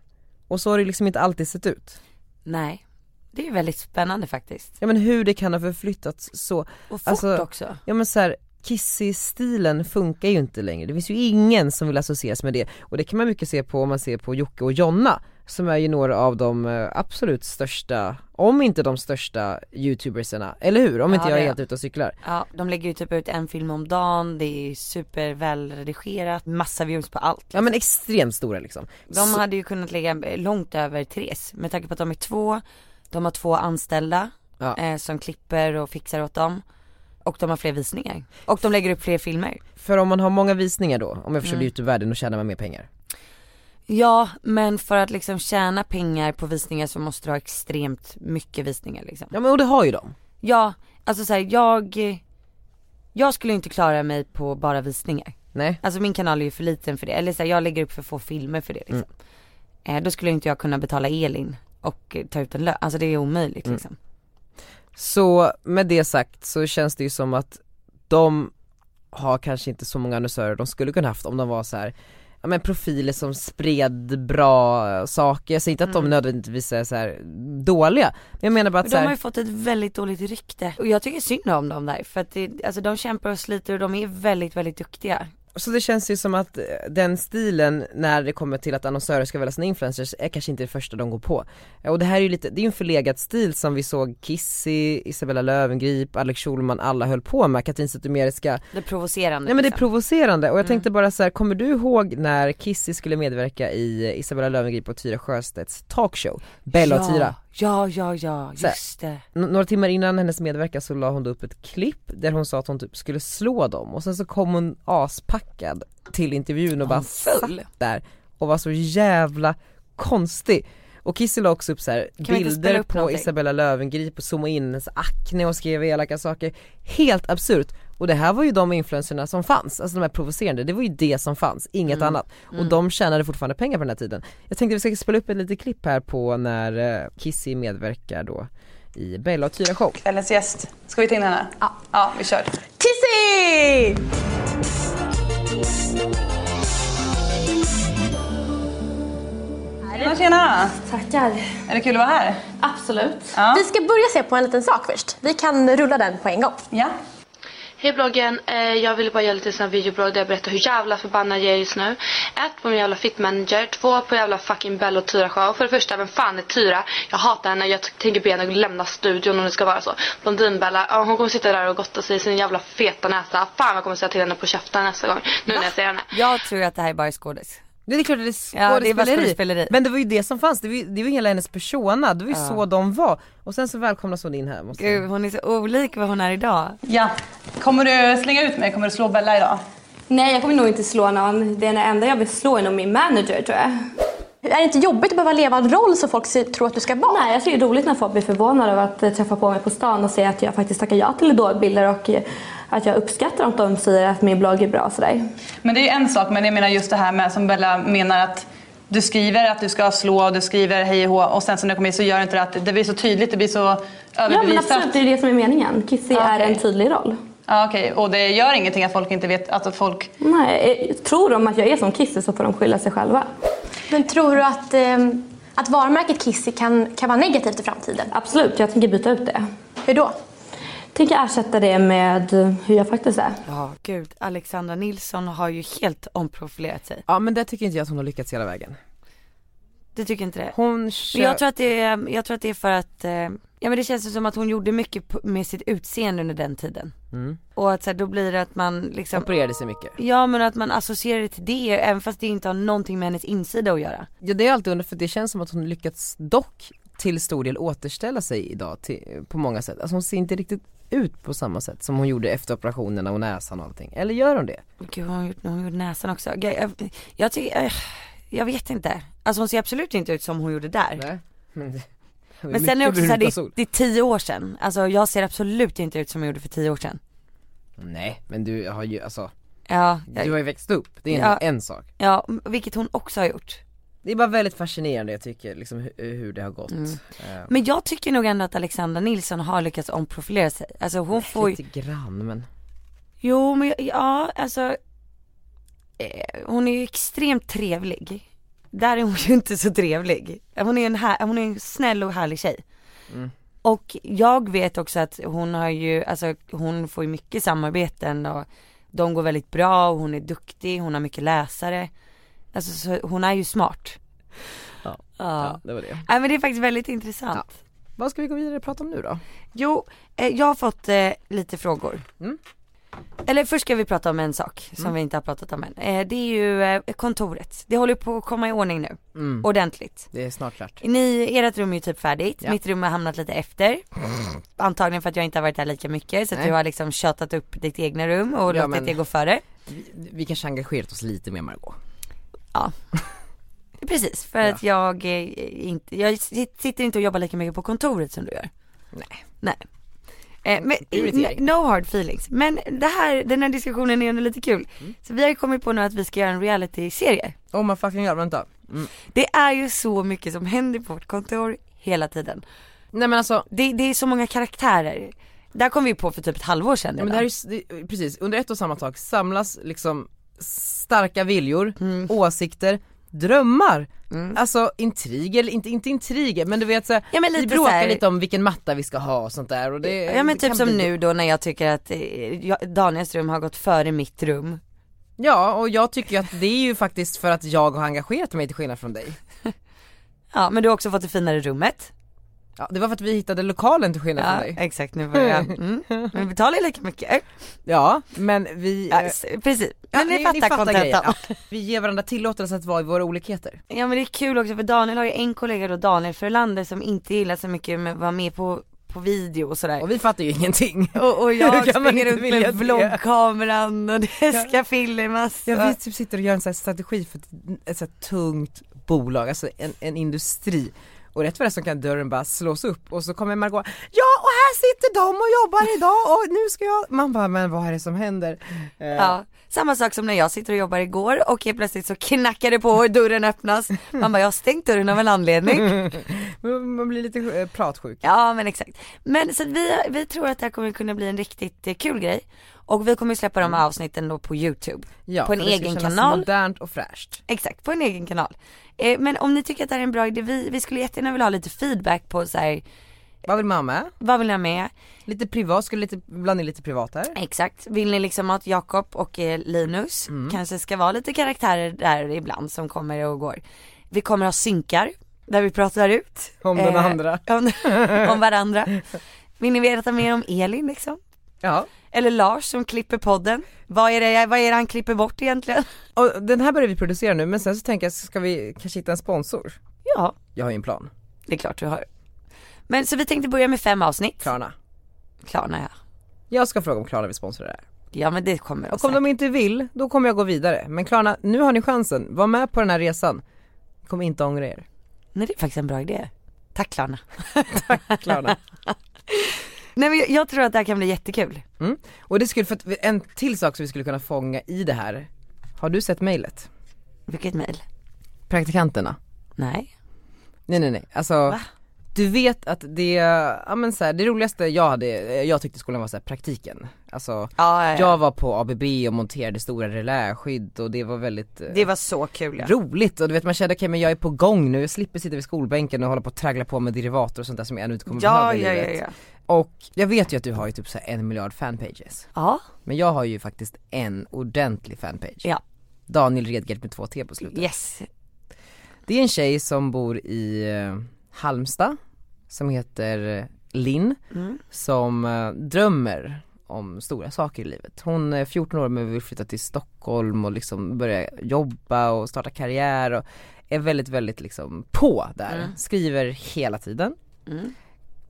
Speaker 1: Och så har det liksom inte alltid sett ut.
Speaker 2: nej. Det är väldigt spännande faktiskt.
Speaker 1: Ja men hur det kan ha förflyttats så,
Speaker 2: Och fort
Speaker 1: Alltså-
Speaker 2: också.
Speaker 1: ja men så här Kissy-stilen funkar ju inte längre, det finns ju ingen som vill associeras med det och det kan man mycket se på om man ser på Jocke och Jonna som är ju några av de eh, absolut största, om inte de största youtubersarna, eller hur? Om
Speaker 2: Ja,
Speaker 1: inte jag
Speaker 2: det
Speaker 1: är
Speaker 2: är.
Speaker 1: helt ute och cyklar.
Speaker 2: Ja, de lägger ju typ ut en film om dagen, det är supervälredigerat, massa views på allt.
Speaker 1: Ja men extremt stora liksom.
Speaker 2: De
Speaker 1: Så-
Speaker 2: hade ju kunnat lägga långt över Therese med tanke på att de är två, de har två anställda
Speaker 1: Ja.
Speaker 2: eh, som klipper och fixar åt dem. Och de har fler visningar. Och de lägger upp fler filmer.
Speaker 1: För om man har många visningar då, om jag förstår mm. youtube-världen, då tjänar man mer pengar.
Speaker 2: Ja, men för att liksom tjäna pengar på visningar så måste du ha extremt mycket visningar liksom.
Speaker 1: Ja men och det har ju de.
Speaker 2: Ja, alltså såhär jag, eh, jag skulle inte klara mig på bara visningar.
Speaker 1: Nej.
Speaker 2: Alltså min kanal är ju för liten för det, eller så här, jag lägger upp för få filmer för det liksom. Eh, då skulle inte jag kunna betala Elin och eh, ta ut en lön, alltså det är omöjligt liksom.
Speaker 1: Så med det sagt så känns det ju som att de har kanske inte så många annonsörer de skulle kunna haft om de var så här Ja men profiler som spred bra eh, saker, jag säger inte att de nödvändigtvis är så här dåliga Men jag menar bara att
Speaker 2: Mm. Men
Speaker 1: så
Speaker 2: de har
Speaker 1: här,
Speaker 2: ju fått ett väldigt dåligt rykte och jag tycker synd om dem där för att det, alltså de kämpar och sliter och de är väldigt, väldigt duktiga.
Speaker 1: så det känns ju som att eh, den stilen när det kommer till att annonsörer ska välja sina influencers är kanske inte det första de går på Eh, Och det här är ju lite, det är ju en förlegad stil som vi såg Kissy, Isabella Löwengrip, Alex Schulman, alla höll på med, Katrin Zytomierska
Speaker 2: Det är provocerande.
Speaker 1: Nej men det är
Speaker 2: liksom. Mm.
Speaker 1: provocerande och jag tänkte bara så här: kommer du ihåg när Kissy skulle medverka i Isabella Löwengrip och Tyra Sjöstedts talkshow? Bella och Tyra.
Speaker 2: Ja, ja, ja,
Speaker 1: Så här.
Speaker 2: just det.
Speaker 1: N- några timmar innan hennes medverkan så la hon då upp ett klipp där hon sa att hon typ skulle slå dem och sen så kom hon aspackad till intervjun och bara
Speaker 2: full?
Speaker 1: satt där och var så jävla konstig. Och Kissy la också upp så här
Speaker 2: vi inte spela
Speaker 1: bilder
Speaker 2: upp
Speaker 1: på
Speaker 2: någonting?
Speaker 1: Isabella Löwengrip och zoomade in hennes akne och skrev elaka saker. Helt absurt! Och det här var ju de influencerna som fanns, alltså de här provocerande, det var ju det som fanns, inget
Speaker 2: Mm.
Speaker 1: annat. Och de tjänade fortfarande pengar på den här tiden. Jag tänkte vi ska spela upp ett litet klipp här på när eh, Kissy medverkar då i Bella och Tyra show.
Speaker 3: Kvällens gäst. Ska vi ta in henne? Ja. Ja, vi kör.
Speaker 4: Kissy!
Speaker 3: Tjena, tjena!
Speaker 4: Tackar.
Speaker 3: Är det kul att vara här?
Speaker 4: Absolut.
Speaker 3: Ja.
Speaker 4: Vi ska börja se på en liten sak först. Vi kan rulla den på en gång.
Speaker 3: Ja.
Speaker 5: Hej bloggen, eh, jag ville bara göra lite sån här videoblogg där jag berättar hur jävla förbannad jag är just nu. Ett på min jävla fitmanager, två på jävla fucking Bella och Tyra show. För det första, vem fan är Tyra? Jag hatar henne, jag t- tänker be henne lämna studion om det ska vara så. Blondinbella, ja, hon kommer sitta där och gotta sig i sin jävla feta näsa. Fan vad jag kommer säga till henne på käften nästa gång. Nu när jag ser henne.
Speaker 2: Jag tror att det här är bara skådis.
Speaker 1: Det är klart att det är
Speaker 2: Ja, det är bara
Speaker 1: skådespeleri.
Speaker 2: skådespeleri.
Speaker 1: Men det var ju det som fanns, det var ju, det var ju hela hennes persona, det var ju så de var. Och sen så välkomnas hon in här. Måste jag-
Speaker 2: Gud, hon är så olik vad hon är idag.
Speaker 3: Ja. Kommer du slänga ut mig? Kommer du slå Bella idag?
Speaker 6: Nej, jag kommer nog inte slå någon. Den enda jag vill slå är nog min manager tror jag.
Speaker 4: Är det inte jobbigt att behöva leva en roll som folk ser- tror att du ska vara?
Speaker 6: Nej, jag tycker det är roligt när folk blir förvånade över att eh, träffa på mig på stan och säga att jag faktiskt tackar ja till idolbilder och eh, att jag uppskattar om de säger att min blogg är bra och sådär.
Speaker 3: Men det är ju en sak, men jag menar just det här med som Bella menar att du skriver att du ska slå och du skriver hej och hå och sen så när du kommer in så gör du inte det att det blir så tydligt, det blir så
Speaker 6: Ja men
Speaker 3: överbevisat.
Speaker 6: absolut, det är det som är meningen. Kissy är en tydlig roll.
Speaker 3: Ja, okej. Och det gör ingenting att folk inte vet, alltså att folk...
Speaker 6: Nej, eh, tror de att jag är som Kissy så får de skylla sig själva.
Speaker 4: Men tror du att, ehm, att varumärket Kissy kan, kan vara negativt i framtiden?
Speaker 6: Absolut, jag tänker byta ut det.
Speaker 4: Hur då?
Speaker 6: Tänker ersätta det med eh, hur jag faktiskt är.
Speaker 2: Ja, gud. Alexandra Nilsson har ju helt omprofilerat sig.
Speaker 1: Ja men där tycker inte jag att hon har lyckats hela vägen.
Speaker 2: Du tycker inte det?
Speaker 1: Hon
Speaker 2: Men jag
Speaker 1: kör...
Speaker 2: tror att det är, jag tror att det är för att, eh, ja men det känns ju som att hon gjorde mycket p- med sitt utseende under den tiden.
Speaker 1: Mm.
Speaker 2: Och att så här, då blir det att man liksom
Speaker 1: opererade sig mycket.
Speaker 2: Ja men att man associerar det till det även fast det inte har någonting med hennes insida att göra.
Speaker 1: Ja det är alltid undrat för det känns som att hon lyckats dock till stor del återställa sig idag till, på många sätt. Alltså hon ser inte riktigt ut på samma sätt som hon gjorde efter operationerna och näsan och allting? Eller gör hon det?
Speaker 2: Gud vad hon gjort, hon gjorde näsan också. Jag, jag, jag tycker, eh, jag vet inte. Alltså hon ser absolut inte ut som hon gjorde där.
Speaker 1: Nej. Men,
Speaker 2: Men sen är det också såhär, det, det är tio år sedan. Alltså jag ser absolut inte ut som jag gjorde för tio år sedan.
Speaker 1: Nej men du har ju, alltså,
Speaker 2: Ja,
Speaker 1: du har ju växt upp, det är en,
Speaker 2: Ja.
Speaker 1: en sak
Speaker 2: ja vilket hon också har gjort.
Speaker 1: Det är bara väldigt fascinerande jag tycker liksom hur, hur det har gått Eh,
Speaker 2: Men jag tycker nog ändå att Alexandra Nilsson har lyckats omprofilera sig. Alltså hon får ju,
Speaker 1: Lite grann men,
Speaker 2: jo men jag- ja alltså, eh, hon är ju extremt trevlig. Där är hon ju inte så trevlig. Hon är en, här, hon är en snäll och härlig tjej.
Speaker 1: Mm.
Speaker 2: Och jag vet också att hon har ju, alltså hon får ju mycket samarbeten och de går väldigt bra och hon är duktig, hon har mycket läsare. Alltså så hon är ju smart.
Speaker 1: Ja.
Speaker 2: ja.
Speaker 1: ja det var det
Speaker 2: Nej men det är faktiskt väldigt intressant.
Speaker 1: Ja. Vad ska vi gå vidare och prata om nu då?
Speaker 2: Jo, eh, jag har fått eh, lite frågor.
Speaker 1: Mm.
Speaker 2: Eller först ska vi prata om en sak som vi inte har pratat om än. Eh, det är ju eh, kontoret. Det håller på att komma i ordning nu.
Speaker 1: Mm.
Speaker 2: Ordentligt.
Speaker 1: Det är snart klart
Speaker 2: Ni, ert rum är ju typ färdigt.
Speaker 1: Ja.
Speaker 2: Mitt rum har hamnat lite efter. Antagligen för att jag inte har varit där lika mycket. Så att
Speaker 1: Nej.
Speaker 2: du har liksom tjötat upp ditt egna rum och
Speaker 1: Ja,
Speaker 2: låtit
Speaker 1: men-
Speaker 2: det gå före.
Speaker 1: Vi, vi kanske engagerat oss lite mer Margot
Speaker 2: Precis, för
Speaker 1: Ja.
Speaker 2: att jag, eh, inte, jag sit- sitter inte och jobbar lika mycket på kontoret som du gör.
Speaker 1: Nej.
Speaker 2: Nej. Eh, men,
Speaker 1: Prioritering.
Speaker 2: no hard feelings. Men det här, den här diskussionen är ändå lite kul.
Speaker 1: Mm.
Speaker 2: Så vi har ju kommit på nu att vi ska göra en reality-serie.
Speaker 1: Oh my fucking god, vänta mm.
Speaker 2: Det är ju så mycket som händer på vårt kontor hela tiden.
Speaker 1: Nej men alltså,
Speaker 2: Det, det är så många karaktärer. Där kom vi på för typ ett halvår sedan
Speaker 1: ja, men
Speaker 2: redan.
Speaker 1: det här är, s- det, precis, under ett och samma tak samlas liksom starka viljor,
Speaker 2: Mm.
Speaker 1: åsikter, drömmar Alltså intriger, inte, inte intriger men du vet så här,
Speaker 2: Ja, men
Speaker 1: vi
Speaker 2: lite
Speaker 1: bråkar
Speaker 2: så här-
Speaker 1: lite om vilken matta vi ska ha och sånt där och det
Speaker 2: Ja men
Speaker 1: det
Speaker 2: typ
Speaker 1: kan
Speaker 2: som
Speaker 1: bli-
Speaker 2: nu då när jag tycker att eh, jag- Daniels rum har gått före mitt rum.
Speaker 1: Ja och jag tycker ju att det är ju faktiskt för att jag har engagerat mig till skillnad från dig
Speaker 2: Ja men du har också fått det finare rummet.
Speaker 1: Ja, det var för att vi hittade lokalen till skillnad
Speaker 2: Ja,
Speaker 1: från dig.
Speaker 2: exakt nu börjar jag. Mm. Men vi betalar ju lika mycket.
Speaker 1: Ja, men vi...
Speaker 2: Ja,
Speaker 1: eh,
Speaker 2: s- precis,
Speaker 1: ja,
Speaker 2: men ni, fattar
Speaker 1: grejen.
Speaker 2: kontentan.
Speaker 1: Ja. Vi ger varandra tillåtelse att vara i våra olikheter.
Speaker 2: Ja men det är kul också för Daniel har ju en kollega då, Daniel Frölander som inte gillar så mycket med att vara med på, på video och sådär.
Speaker 1: Och vi fattar ju ingenting.
Speaker 2: Och, och
Speaker 1: Hur
Speaker 2: jag
Speaker 1: kan man
Speaker 2: springer
Speaker 1: inte
Speaker 2: runt
Speaker 1: vilja
Speaker 2: med
Speaker 1: det?
Speaker 2: vloggkameran och det ska filmas.
Speaker 1: Jag vi typ sitter och gör en sån här strategi för ett- ett så här tungt bolag, alltså en, en industri. Och rätt vad det är så kan dörren bara slås upp och så kommer Margot Ja och här sitter de och jobbar idag och nu ska jag Man bara men vad är det som händer? Eh,
Speaker 2: Ja, samma sak som när jag sitter och jobbar igår och helt plötsligt så knackar det på och dörren öppnas. Man bara, jag har stängt dörren av en anledning.
Speaker 1: man- Man blir lite eh, pratsjuk.
Speaker 2: Ja men exakt. Men så att vi, vi tror att det här kommer kunna bli en riktigt eh, kul grej. Och vi kommer ju släppa de här avsnitten då på youtube.
Speaker 1: Mm. Ja,
Speaker 2: På en
Speaker 1: för det ska
Speaker 2: egen
Speaker 1: kännas
Speaker 2: kanal.
Speaker 1: Modernt och fräscht.
Speaker 2: Exakt, på en egen kanal. Eh, men om ni tycker att det här är en bra idé, vi, vi skulle jättegärna vilja ha lite feedback på så här,
Speaker 1: Vad vill mamma?
Speaker 2: vad vill ni ha med?
Speaker 1: Lite privat, skulle lite, blanda in lite privat här.
Speaker 2: Exakt, vill ni liksom att Jakob och eh, Linus
Speaker 1: Mm.
Speaker 2: kanske ska vara lite karaktärer där ibland som kommer och går. Vi kommer ha synkar där vi pratar ut. Eh,
Speaker 1: Om den andra.
Speaker 2: Om, om varandra. Vill ni veta mer om Elin liksom?
Speaker 1: Ja.
Speaker 2: Eller Lars som klipper podden. Vad är det, vad är det han klipper bort egentligen?
Speaker 1: Och den här börjar vi producera nu men sen så tänker jag, ska vi kanske hitta en sponsor?
Speaker 2: Ja,
Speaker 1: Jag har ju en plan,
Speaker 2: det är klart du har. Men så vi tänkte börja med fem avsnitt.
Speaker 1: Klarna.
Speaker 2: Klarna ja.
Speaker 1: Jag ska fråga om Klarna vill sponsra det här.
Speaker 2: Ja men det kommer
Speaker 1: Och om de inte vill, då kommer jag gå vidare. Men Klarna, nu har ni chansen. Var med på den här resan. Ni kommer inte ångra er.
Speaker 2: Nej det är faktiskt en bra idé. Tack Klarna.
Speaker 1: Klarna.
Speaker 2: Nej men jag, jag tror att det här kan bli jättekul.
Speaker 1: Och det skulle, för att vi- en till sak som vi skulle kunna fånga i det här. Har du sett mejlet?
Speaker 2: Vilket mejl?
Speaker 1: Praktikanterna.
Speaker 2: Nej.
Speaker 1: Nej nej nej, alltså Du vet att det, ja men så här, det roligaste jag hade, jag tyckte skolan var så här, praktiken. Alltså,
Speaker 2: Ja, ja, ja.
Speaker 1: jag var på ABB och monterade stora reläskydd och det var väldigt eh,
Speaker 2: Det var så kul ja.
Speaker 1: roligt och du vet man kände okej men jag är på gång nu, jag slipper sitta vid skolbänken och hålla på och traggla på med derivater och sånt där som jag ännu inte kommer
Speaker 2: Ja,
Speaker 1: behöva i
Speaker 2: ja, ja,
Speaker 1: livet.
Speaker 2: ja.
Speaker 1: Och jag vet ju att du har ju typ så här en miljard fanpages,
Speaker 2: Ja,
Speaker 1: men jag har ju faktiskt en ordentlig fanpage.
Speaker 2: ja.
Speaker 1: Daniel Redgert med två T på slutet.
Speaker 2: Yes.
Speaker 1: Det är en tjej som bor i eh, Halmstad som heter eh, Linn
Speaker 2: Mm.
Speaker 1: som eh, drömmer om stora saker i livet. Hon är 14 år men vill flytta till Stockholm och liksom börja jobba och starta karriär
Speaker 2: Mm.
Speaker 1: och är väldigt väldigt liksom på där. Skriver hela tiden.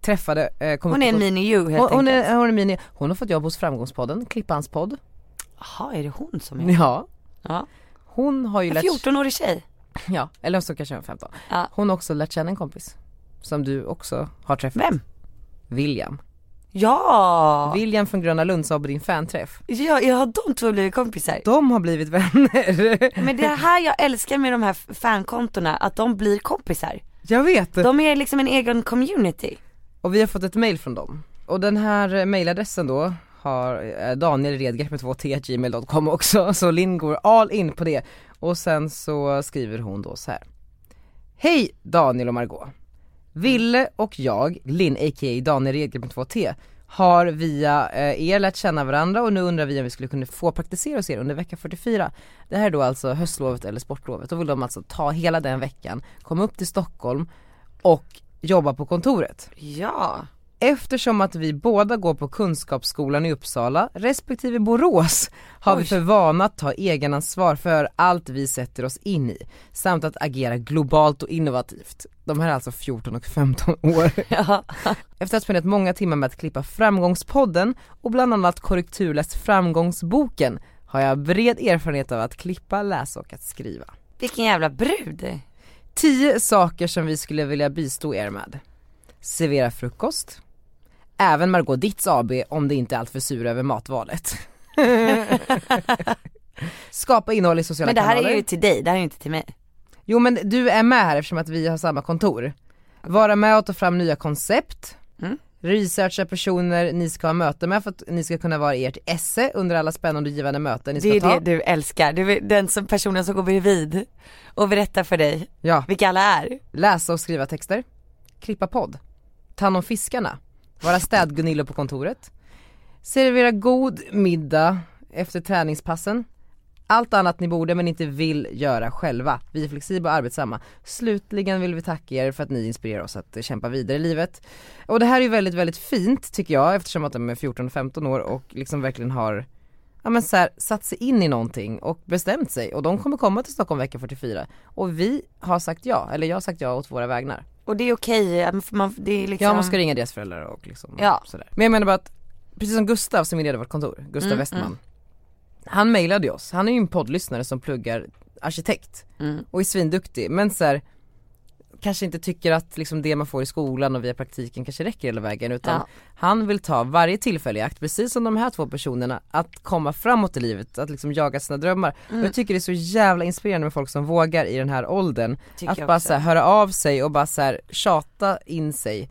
Speaker 1: träffade, eh, kom
Speaker 2: Hon
Speaker 1: upp
Speaker 2: är en
Speaker 1: på-
Speaker 2: mini-you helt
Speaker 1: hon, hon,
Speaker 2: enkelt.
Speaker 1: är, hon är mini, hon har fått jobb hos Framgångspodden, Klippans podd.
Speaker 2: Jaha, är det hon som är?
Speaker 1: Ja.
Speaker 2: Mm. Ja.
Speaker 1: Hon har ju
Speaker 2: En
Speaker 1: lärt
Speaker 2: 14-årig tjej.
Speaker 1: ja, eller så kanske hon är 15.
Speaker 2: Ja.
Speaker 1: Hon har också lärt känna en kompis. Som du också har träffat.
Speaker 2: Vem?
Speaker 1: William.
Speaker 2: Ja!
Speaker 1: William från Gröna Lund sa på din fanträff.
Speaker 2: Ja, jag har de två blivit kompisar.
Speaker 1: De har blivit vänner.
Speaker 2: Men det är här jag älskar med de här f- fankontona, att de blir kompisar.
Speaker 1: Jag vet.
Speaker 2: De är liksom en egen community.
Speaker 1: Och vi har fått ett mail från dem. Och den här eh, mailadressen då har eh, Daniel Redgert med 2 t gmail.com också, så Linn går all in på det. Och sen så skriver hon då så här. Hej Daniel och Margot. Ville och jag, Linn a.k.a. Daniel Redgert med 2 t har via eh, er lärt känna varandra och nu undrar vi om vi skulle kunna få praktisera hos er under vecka 44. Det här är då alltså höstlovet eller sportlovet. Då vill de alltså ta hela den veckan, komma upp till Stockholm och jobba på kontoret.
Speaker 2: Ja.
Speaker 1: Eftersom att vi båda går på Kunskapsskolan i Uppsala respektive Borås har vi för vana att ta egenansvar för allt vi sätter oss in i samt att agera globalt och innovativt. De här är alltså 14 och 15 år.
Speaker 2: ja.
Speaker 1: Efter att ha spenderat många timmar med att klippa Framgångspodden och bland annat korrekturläst Framgångsboken har jag bred erfarenhet av att klippa, läsa och att skriva.
Speaker 2: Vilken jävla brud.
Speaker 1: 10 saker som vi skulle vilja bistå er med. Servera frukost. Även Margot Ditts AB om det inte är alltför sur över matvalet. Skapa innehåll i sociala
Speaker 2: Men det här
Speaker 1: kanaler.
Speaker 2: är ju till dig, det här är ju inte till mig.
Speaker 1: Jo men du är med här eftersom att vi har samma kontor. Vara med och ta fram nya koncept.
Speaker 2: Mm.
Speaker 1: Researcha personer ni ska ha möte med för att ni ska kunna vara ert esse under alla spännande och givande möten ni
Speaker 2: Det
Speaker 1: ska
Speaker 2: är
Speaker 1: ta.
Speaker 2: det du älskar, du är den som, personen som går bredvid och berättar för dig
Speaker 1: Ja.
Speaker 2: vilka alla är.
Speaker 1: Läsa och skriva texter. Klippa podd. Ta hand om fiskarna. Vara städ-Gunilla på kontoret. Servera god middag efter träningspassen. Allt annat ni borde men inte vill göra själva. Vi är flexibla och arbetsamma. Slutligen vill vi tacka er för att ni inspirerar oss att eh, kämpa vidare i livet. Och det här är ju väldigt, väldigt fint tycker jag eftersom att de är 14 och 15 år och liksom verkligen har ja men så här, satt sig in i någonting och bestämt sig och de kommer komma till Stockholm vecka 44 och vi har sagt ja, eller jag har sagt ja åt våra vägnar.
Speaker 2: Och det är okej, att man- man, det är liksom.
Speaker 1: Jag måste ringa deras föräldrar och liksom
Speaker 2: Ja.
Speaker 1: sådär. Men jag menar bara att, precis som Gustav som inredde vårt kontor, Gustav
Speaker 2: Mm,
Speaker 1: Westman. Han mejlade ju oss, han är ju en poddlyssnare som pluggar arkitekt
Speaker 2: Mm.
Speaker 1: och är svinduktig men så här, kanske inte tycker att liksom det man får i skolan och via praktiken kanske räcker hela vägen utan
Speaker 2: Ja.
Speaker 1: han vill ta varje tillfälle i akt, precis som de här två personerna, att komma framåt i livet, att liksom jaga sina drömmar.
Speaker 2: Mm.
Speaker 1: Och jag tycker det är så jävla inspirerande med folk som vågar i den här åldern,
Speaker 2: Tycker
Speaker 1: att
Speaker 2: jag
Speaker 1: bara
Speaker 2: också.
Speaker 1: så här, höra av sig och bara så här, tjata in sig.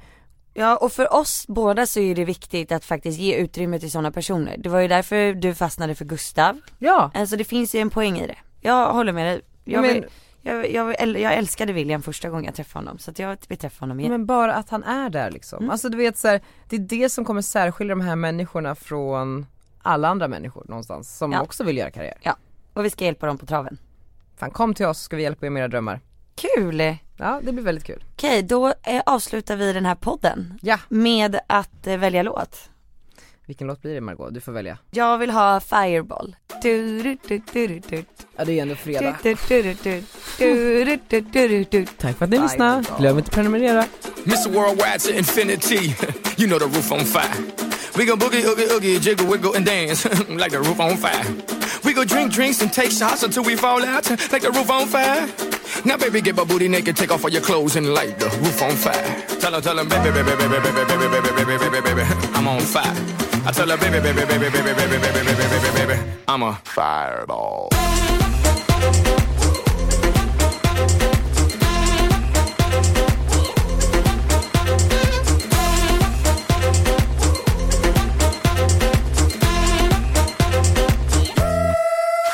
Speaker 2: Ja och för oss båda så är det viktigt att faktiskt ge utrymme till sådana personer. Det var ju därför du fastnade för Gustav.
Speaker 1: Ja,
Speaker 2: Alltså det finns ju en poäng i det. Jag håller med dig. Jag,
Speaker 1: Men-
Speaker 2: vill, jag, jag, vill- jag älskade William första gången jag träffade honom så att jag vill träffa honom igen.
Speaker 1: men bara att han är där liksom. Alltså du vet så här, det är det som kommer särskilja de här människorna från alla andra människor någonstans som
Speaker 2: Ja.
Speaker 1: också vill göra karriär.
Speaker 2: Ja, och vi ska hjälpa dem på traven.
Speaker 1: Fan kom till oss så ska vi hjälpa er med era drömmar.
Speaker 2: Kul! Okej,
Speaker 1: Ja det blir väldigt kul.
Speaker 2: då eh, avslutar vi den här podden
Speaker 1: Ja,
Speaker 2: med att eh, välja låt.
Speaker 1: vilken låt blir det Margot? Du får välja.
Speaker 2: Jag vill ha Fireball. Du-du-du-du-du-du.
Speaker 1: Ja det är ju ändå fredag.
Speaker 2: Du-du-du-du-du. Du-du-du-du-du-du.
Speaker 1: Tack för att ni lyssnade. Glöm inte att prenumerera.
Speaker 7: Mr. Worldwide to infinity. you know the roof on fire. We go boogie, oogie, oogie, jiggle, wiggle, and dance like the roof on fire. We go drink drinks and take shots until we fall out like the roof on fire. Now, baby, get my booty naked, take off all your clothes and light the roof on fire. Tell her, tell her, baby, baby, baby, baby, baby, baby, baby, baby, baby, baby, I'm on fire. I tell her, baby, baby, baby, baby, baby, baby, baby, baby, baby, baby, I'm a fireball.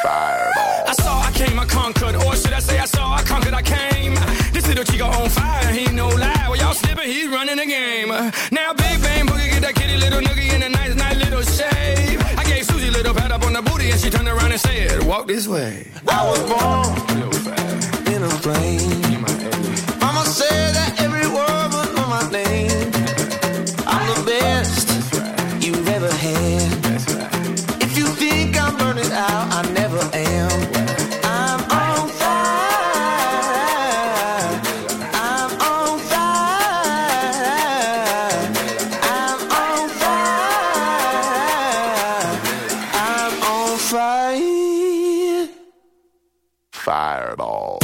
Speaker 7: I saw, I came, I conquered. Or should I say, I saw, I conquered, I came. This little chico on fire, he ain't no lie. Well, y'all slipping, he's running the game. Now, big bang, boogie, get that kitty little noogie in a nice, nice little shave. I gave Susie a little pat up on the booty, and she turned around and said, Walk this way.
Speaker 8: I was born
Speaker 7: Little fat,
Speaker 8: in a plane.
Speaker 7: you my age.
Speaker 8: Mama said that every woman know my name. I'm the best you've ever had.
Speaker 7: That's right.
Speaker 8: If you think I'm burning out, I never am. I'm on fire. I'm on fire. fire. Fireball.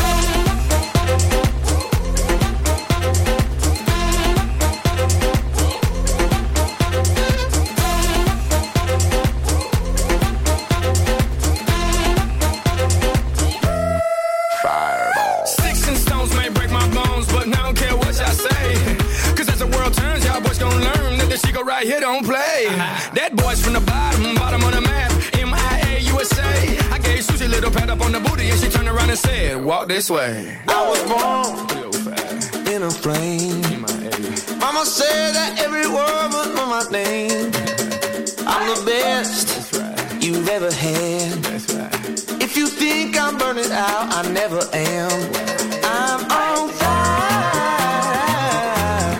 Speaker 7: Sticks and stones may break my bones, but I don't care what y'all say. Cause as the world turns, y'all boys gon' learn that the go right here don't play. That boy's from the bottom, bottom on the map. MIA USA. I gave Susie a little pat up on the booty, and she turned around and said, Walk this way.
Speaker 8: I was born in a plane. Mama said that every word was my name. I'm the best you've ever had. If you think I'm burning out, I never am. I'm on fire.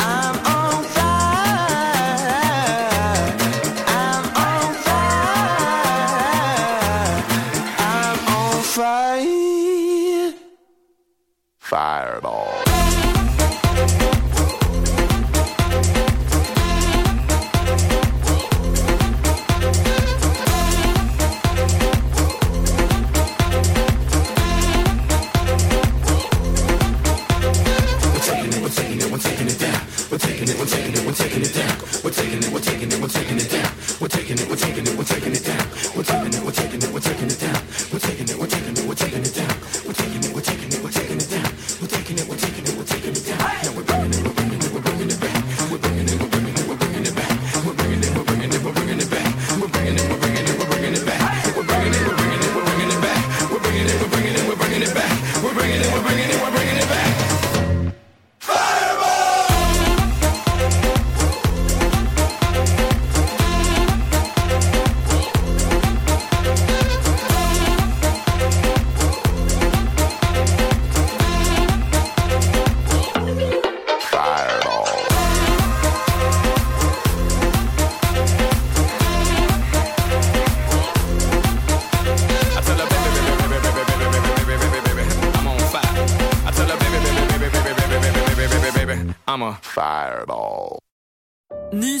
Speaker 8: I'm on fire. I'm on fire. I'm on fire. Fireball.
Speaker 7: We're taking it, we're taking it, we're taking it down. We're taking it, we're taking it, we're taking it down. We're taking it, we're taking it, we're taking it down. We're taking it, we're taking it, we're taking it down. We're taking it, we're taking it, we're taking it down. We're taking it, we're taking it, we're taking it down. We're taking it, we're taking it, we're taking it down. We're taking it, we're taking it, we're taking it down. Now we're bringing it, we're bringing it, we're bringing it back. We're bringing it, we're bringing it, we're bringing it back. We're bringing it, we're bringing it, we're bringing it back. We're bringing it, we're bringing it, we're bringing it back. We're bringing it, we're bringing it, we're bringing it back. We're bringing it, we're bringing it, we're bringing it back. We're bringing it, we're bringing it, we're bringing it back. I tell her, baby, baby, baby, baby, baby, baby, baby, baby, baby, I'm on fire. I tell her, baby, baby, baby, baby, baby, baby, baby, baby, baby, baby, I'm a fireball.
Speaker 9: Ny